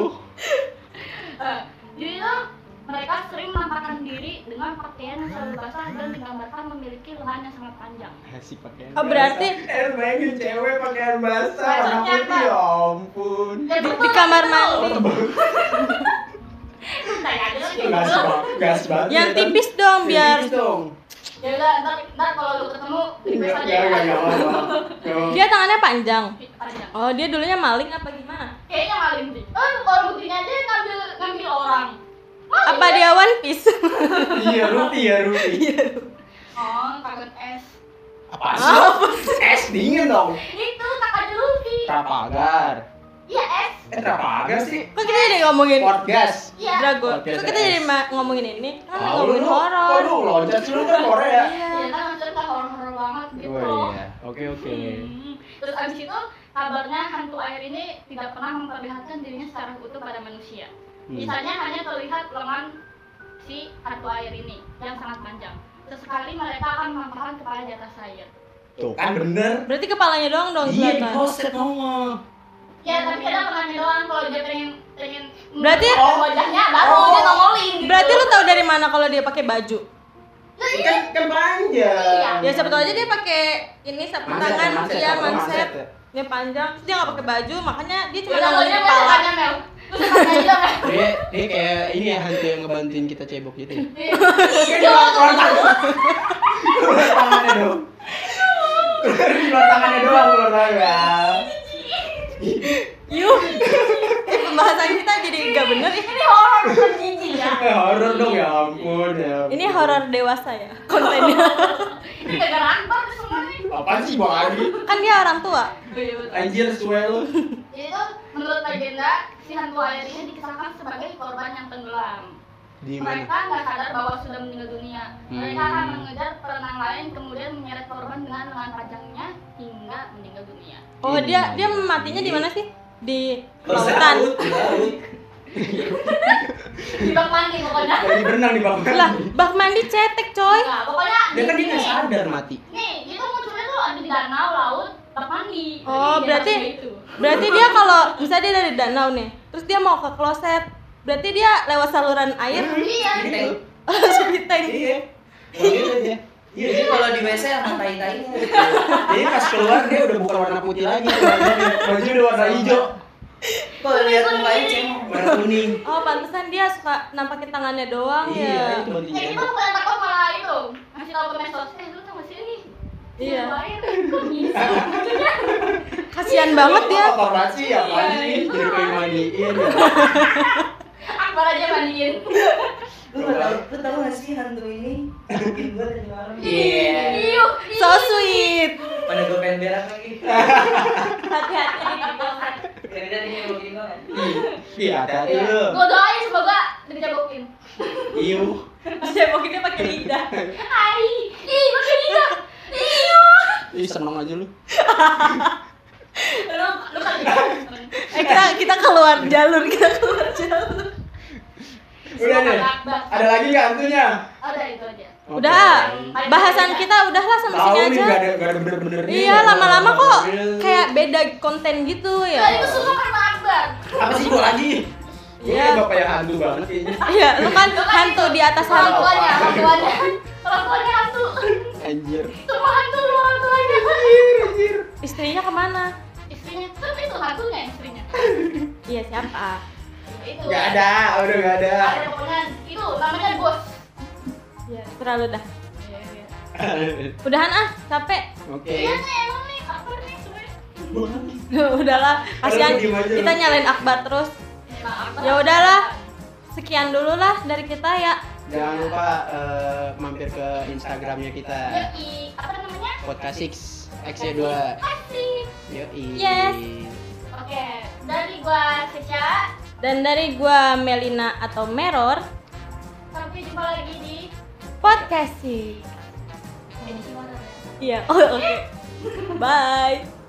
[SPEAKER 1] Eh, jadi itu mereka sering menampakkan diri dengan pakaian yang selalu basah dan digambarkan memiliki lengan yang sangat panjang.
[SPEAKER 4] kasih pakai Iya.
[SPEAKER 2] Oh, berarti Iya.
[SPEAKER 3] Eh bayangin cewek pakaian basah warna
[SPEAKER 1] Maksudnya
[SPEAKER 3] putih
[SPEAKER 1] apa?
[SPEAKER 3] ya ampun.
[SPEAKER 4] Iya.
[SPEAKER 1] Dan
[SPEAKER 2] di,
[SPEAKER 1] betul,
[SPEAKER 2] di kamar
[SPEAKER 1] betul.
[SPEAKER 2] mandi
[SPEAKER 1] Bentar ya, dulu
[SPEAKER 3] Gas banget, gas banget.
[SPEAKER 2] yang
[SPEAKER 3] ya kan?
[SPEAKER 4] iya
[SPEAKER 2] tipis dong
[SPEAKER 3] Yang
[SPEAKER 2] biar
[SPEAKER 3] tipis dong.
[SPEAKER 1] ya udah ntar ntar kalau lu ketemu request aja
[SPEAKER 3] ya,
[SPEAKER 4] Iya,
[SPEAKER 1] ya.
[SPEAKER 3] ya,
[SPEAKER 2] Dia tangannya panjang.
[SPEAKER 1] Panjang.
[SPEAKER 2] Oh, dia dulunya maling apa gimana?
[SPEAKER 1] Kayaknya maling sih. Eh, kalau buktinya aja ngambil ngambil orang. Maling,
[SPEAKER 2] Apa
[SPEAKER 1] ya?
[SPEAKER 2] dia One Piece?
[SPEAKER 3] Iya, Rupi ya, Rupi.
[SPEAKER 1] Oh, kangen es.
[SPEAKER 4] Apa sih?
[SPEAKER 3] Es dingin dong.
[SPEAKER 1] Itu tak ada Luffy.
[SPEAKER 4] Trapagar.
[SPEAKER 1] Iya es.
[SPEAKER 3] Eh, kenapa agak sih?
[SPEAKER 2] Kok kita jadi ngomongin
[SPEAKER 4] Podcast.
[SPEAKER 1] Iya.
[SPEAKER 2] Drago?
[SPEAKER 4] Podcast
[SPEAKER 2] Kok kita
[SPEAKER 4] S.
[SPEAKER 2] jadi ma- ngomongin ini? Kan
[SPEAKER 4] Tahu
[SPEAKER 2] ngomongin
[SPEAKER 4] lu.
[SPEAKER 2] horor.
[SPEAKER 3] Kok lu loncat sih lu kan Korea?
[SPEAKER 1] Ya
[SPEAKER 2] Iya.
[SPEAKER 1] kan maksudnya tak horor-horor banget gitu.
[SPEAKER 4] Oh iya. Oke oke.
[SPEAKER 1] Hmm. Terus abis itu kabarnya hantu air ini tidak pernah memperlihatkan dirinya secara utuh pada manusia.
[SPEAKER 4] Hmm.
[SPEAKER 1] Misalnya hanya terlihat lengan si hantu air ini yang sangat panjang. Sesekali mereka akan menampakkan kepala di atas air.
[SPEAKER 4] Tuh
[SPEAKER 3] Kan bener.
[SPEAKER 2] Berarti kepalanya doang dong
[SPEAKER 4] Iya di
[SPEAKER 2] Oh, kelihatan.
[SPEAKER 4] poset ngomong.
[SPEAKER 1] Ya tapi kadang lengannya doang kalau dia pengen pengen
[SPEAKER 2] Berarti-
[SPEAKER 1] melihat wajahnya baru
[SPEAKER 3] Oh.
[SPEAKER 1] dia ngomongin. Gitu.
[SPEAKER 2] Berarti lu tahu dari mana kalau dia pakai baju?
[SPEAKER 1] iya,
[SPEAKER 3] Kan kan panjang.
[SPEAKER 2] Ya siapa tahu aja dia pakai ini sapu
[SPEAKER 3] Manset,
[SPEAKER 2] tangan,
[SPEAKER 3] manset,
[SPEAKER 2] iya
[SPEAKER 3] apa,
[SPEAKER 2] manset.
[SPEAKER 3] manset ya?
[SPEAKER 2] Dia panjang, terus dia nggak pakai baju, makanya dia cuma
[SPEAKER 1] Udah
[SPEAKER 2] ngomongin
[SPEAKER 1] Iya, dia
[SPEAKER 2] kepala.
[SPEAKER 1] tanya kan, Mel. Terus tanya juga Mel.
[SPEAKER 4] Dia
[SPEAKER 3] Iya,
[SPEAKER 4] dia kayak ini ya hantu yang ngebantuin kita cebok gitu. ya.
[SPEAKER 3] Kan di luar tangan. Keluar tangannya dong. Di luar tangannya doang keluar tangan.
[SPEAKER 2] Yuh. Eh, pembahasan kita jadi nggak bener. ih.
[SPEAKER 1] Ini horor bukan jijik ya.
[SPEAKER 3] Eh, horor dong ya ampun ya. ampun.
[SPEAKER 2] Ini horor dewasa ya kontennya.
[SPEAKER 1] Ini gara-gara Akbar tuh semua nih.
[SPEAKER 3] Apaan sih Bang Adi?
[SPEAKER 2] kan dia orang tua.
[SPEAKER 3] Anjir suwe lu.
[SPEAKER 1] Jadi itu menurut legenda si hantu air ini dikisahkan sebagai korban yang tenggelam.
[SPEAKER 4] Di mana?
[SPEAKER 1] Mereka nggak sadar bahwa sudah meninggal dunia. Mereka
[SPEAKER 4] Hmm.
[SPEAKER 1] akan mengejar perenang lain kemudian menyeret korban dengan lengan panjangnya hingga meninggal dunia.
[SPEAKER 2] Oh
[SPEAKER 4] Ini.
[SPEAKER 2] dia dia matinya di mana sih? Di
[SPEAKER 3] Oh,
[SPEAKER 2] lautan.
[SPEAKER 3] Laut, laut.
[SPEAKER 1] Di bak mandi pokoknya.
[SPEAKER 3] Lagi berenang di bawah.
[SPEAKER 2] Lah, bak mandi cetek coy.
[SPEAKER 1] Nah, pokoknya
[SPEAKER 4] Dia kan dia
[SPEAKER 1] gini.
[SPEAKER 4] nggak sadar mati.
[SPEAKER 1] Nih, itu munculnya tuh ada di danau, laut, bak mandi.
[SPEAKER 2] Oh,
[SPEAKER 1] Jadi,
[SPEAKER 2] berarti-
[SPEAKER 1] dia itu.
[SPEAKER 2] Berarti dia kalau misalnya dia dari danau nih, terus dia mau ke kloset, berarti dia lewat saluran air
[SPEAKER 1] Iya,
[SPEAKER 3] Gitu.
[SPEAKER 1] gitu.
[SPEAKER 2] langsung di tank.
[SPEAKER 3] Iya. Kayak gitu aja. Iya,
[SPEAKER 5] Jadi kalau di WC sama tai-tainya.
[SPEAKER 4] Jadi pas keluar dia udah bukan warna putih lagi.
[SPEAKER 3] baju udah warna hijau,
[SPEAKER 5] Kalau lihat mukanya cemong.
[SPEAKER 3] warna kuning.
[SPEAKER 2] Oh, pantesan dia suka nampakin tangannya doang
[SPEAKER 4] Iya,
[SPEAKER 2] ya.
[SPEAKER 4] itu bantuin
[SPEAKER 1] Eh, kita
[SPEAKER 4] cebok.
[SPEAKER 1] bukan takut malah itu. gitu. Ngasih tahu ke medsos, eh lu tau gak sih ini?
[SPEAKER 2] Iya.
[SPEAKER 1] Ini air, kok bisa?
[SPEAKER 2] Kasihan banget dia.
[SPEAKER 3] Kotor banget sih, apaan sih?
[SPEAKER 4] Iya, Jadi Iya, pengen mandiin.
[SPEAKER 1] Akbar aja mandiin.
[SPEAKER 5] Lu nggak tahu, lu tahu nggak sih hantu ini? Bikin gua tadi malam.
[SPEAKER 4] Iya.
[SPEAKER 1] Iu,
[SPEAKER 2] So sweet.
[SPEAKER 5] Pada gua pengen berak lagi.
[SPEAKER 2] Hati-hati di kosan.
[SPEAKER 5] Kira-kira dia yang bikin gua kan.
[SPEAKER 4] Iya, hati-hati
[SPEAKER 1] Iya.
[SPEAKER 4] lu. Iya.
[SPEAKER 1] Gua doain semoga dijabokin.
[SPEAKER 4] Iu.
[SPEAKER 2] Dia mungkin dia pakai lidah.
[SPEAKER 1] Hai, ih, makin gila. Iya. Iu.
[SPEAKER 4] Ih, seneng aja lu.
[SPEAKER 1] Lu lu kan
[SPEAKER 2] Eh kita kita keluar jalur, kita keluar jalur.
[SPEAKER 3] Udah deh. Ada lagi nggak hantunya?
[SPEAKER 1] Ada itu aja.
[SPEAKER 4] Oke.
[SPEAKER 2] Udah, bahasan kita udahlah sama
[SPEAKER 3] Tahu
[SPEAKER 2] sini
[SPEAKER 3] nih
[SPEAKER 2] aja.
[SPEAKER 3] nggak ada nggak ada bener-bener.
[SPEAKER 2] Iya, lama-lama kok kayak beda konten gitu ya.
[SPEAKER 1] Tadi itu susah sama Akbar.
[SPEAKER 3] apa sih gua lagi?
[SPEAKER 2] Iya.
[SPEAKER 3] Iya, bapak yang hantu banget kayaknya.
[SPEAKER 2] Iya, lu kan hantu di atas
[SPEAKER 1] Orang
[SPEAKER 2] hantu.
[SPEAKER 1] tuanya, orang tuanya. Orang tuanya hantu.
[SPEAKER 4] Anjir.
[SPEAKER 1] Semua hantu, lu orang tuanya.
[SPEAKER 2] Istrinya kemana?
[SPEAKER 1] Istrinya, tapi itu hantunya istrinya.
[SPEAKER 2] Iya siapa?
[SPEAKER 1] Itu.
[SPEAKER 3] Nggak ada, udah nggak ada.
[SPEAKER 1] Ada pokoknya itu namanya bos.
[SPEAKER 2] Iya, terlalu dah.
[SPEAKER 1] Iya, iya.
[SPEAKER 2] Udahan ah, capek.
[SPEAKER 4] Oke.
[SPEAKER 1] Iya nih, emang nih, Akbar nih sebenarnya.
[SPEAKER 2] udahlah, kasihan
[SPEAKER 3] Aduh, diem aja
[SPEAKER 2] kita
[SPEAKER 3] lu.
[SPEAKER 2] nyalain Akbar terus.
[SPEAKER 1] Emang Akbar.
[SPEAKER 2] Ya udahlah. Sekian dulu lah dari kita ya.
[SPEAKER 4] Jangan lupa eh, mampir ke Instagramnya kita.
[SPEAKER 1] Iya, Yoi, apa namanya?
[SPEAKER 4] Podcast 6 XY2.
[SPEAKER 1] Asik.
[SPEAKER 4] Yoi.
[SPEAKER 2] Yes.
[SPEAKER 1] Oke, dari gua Seca.
[SPEAKER 2] Dan dari gua Melina atau Meror,
[SPEAKER 1] Sampai jumpa lagi di
[SPEAKER 2] podcast sih.
[SPEAKER 1] edisi mana ya?
[SPEAKER 2] Iya, oh, oke. Bye.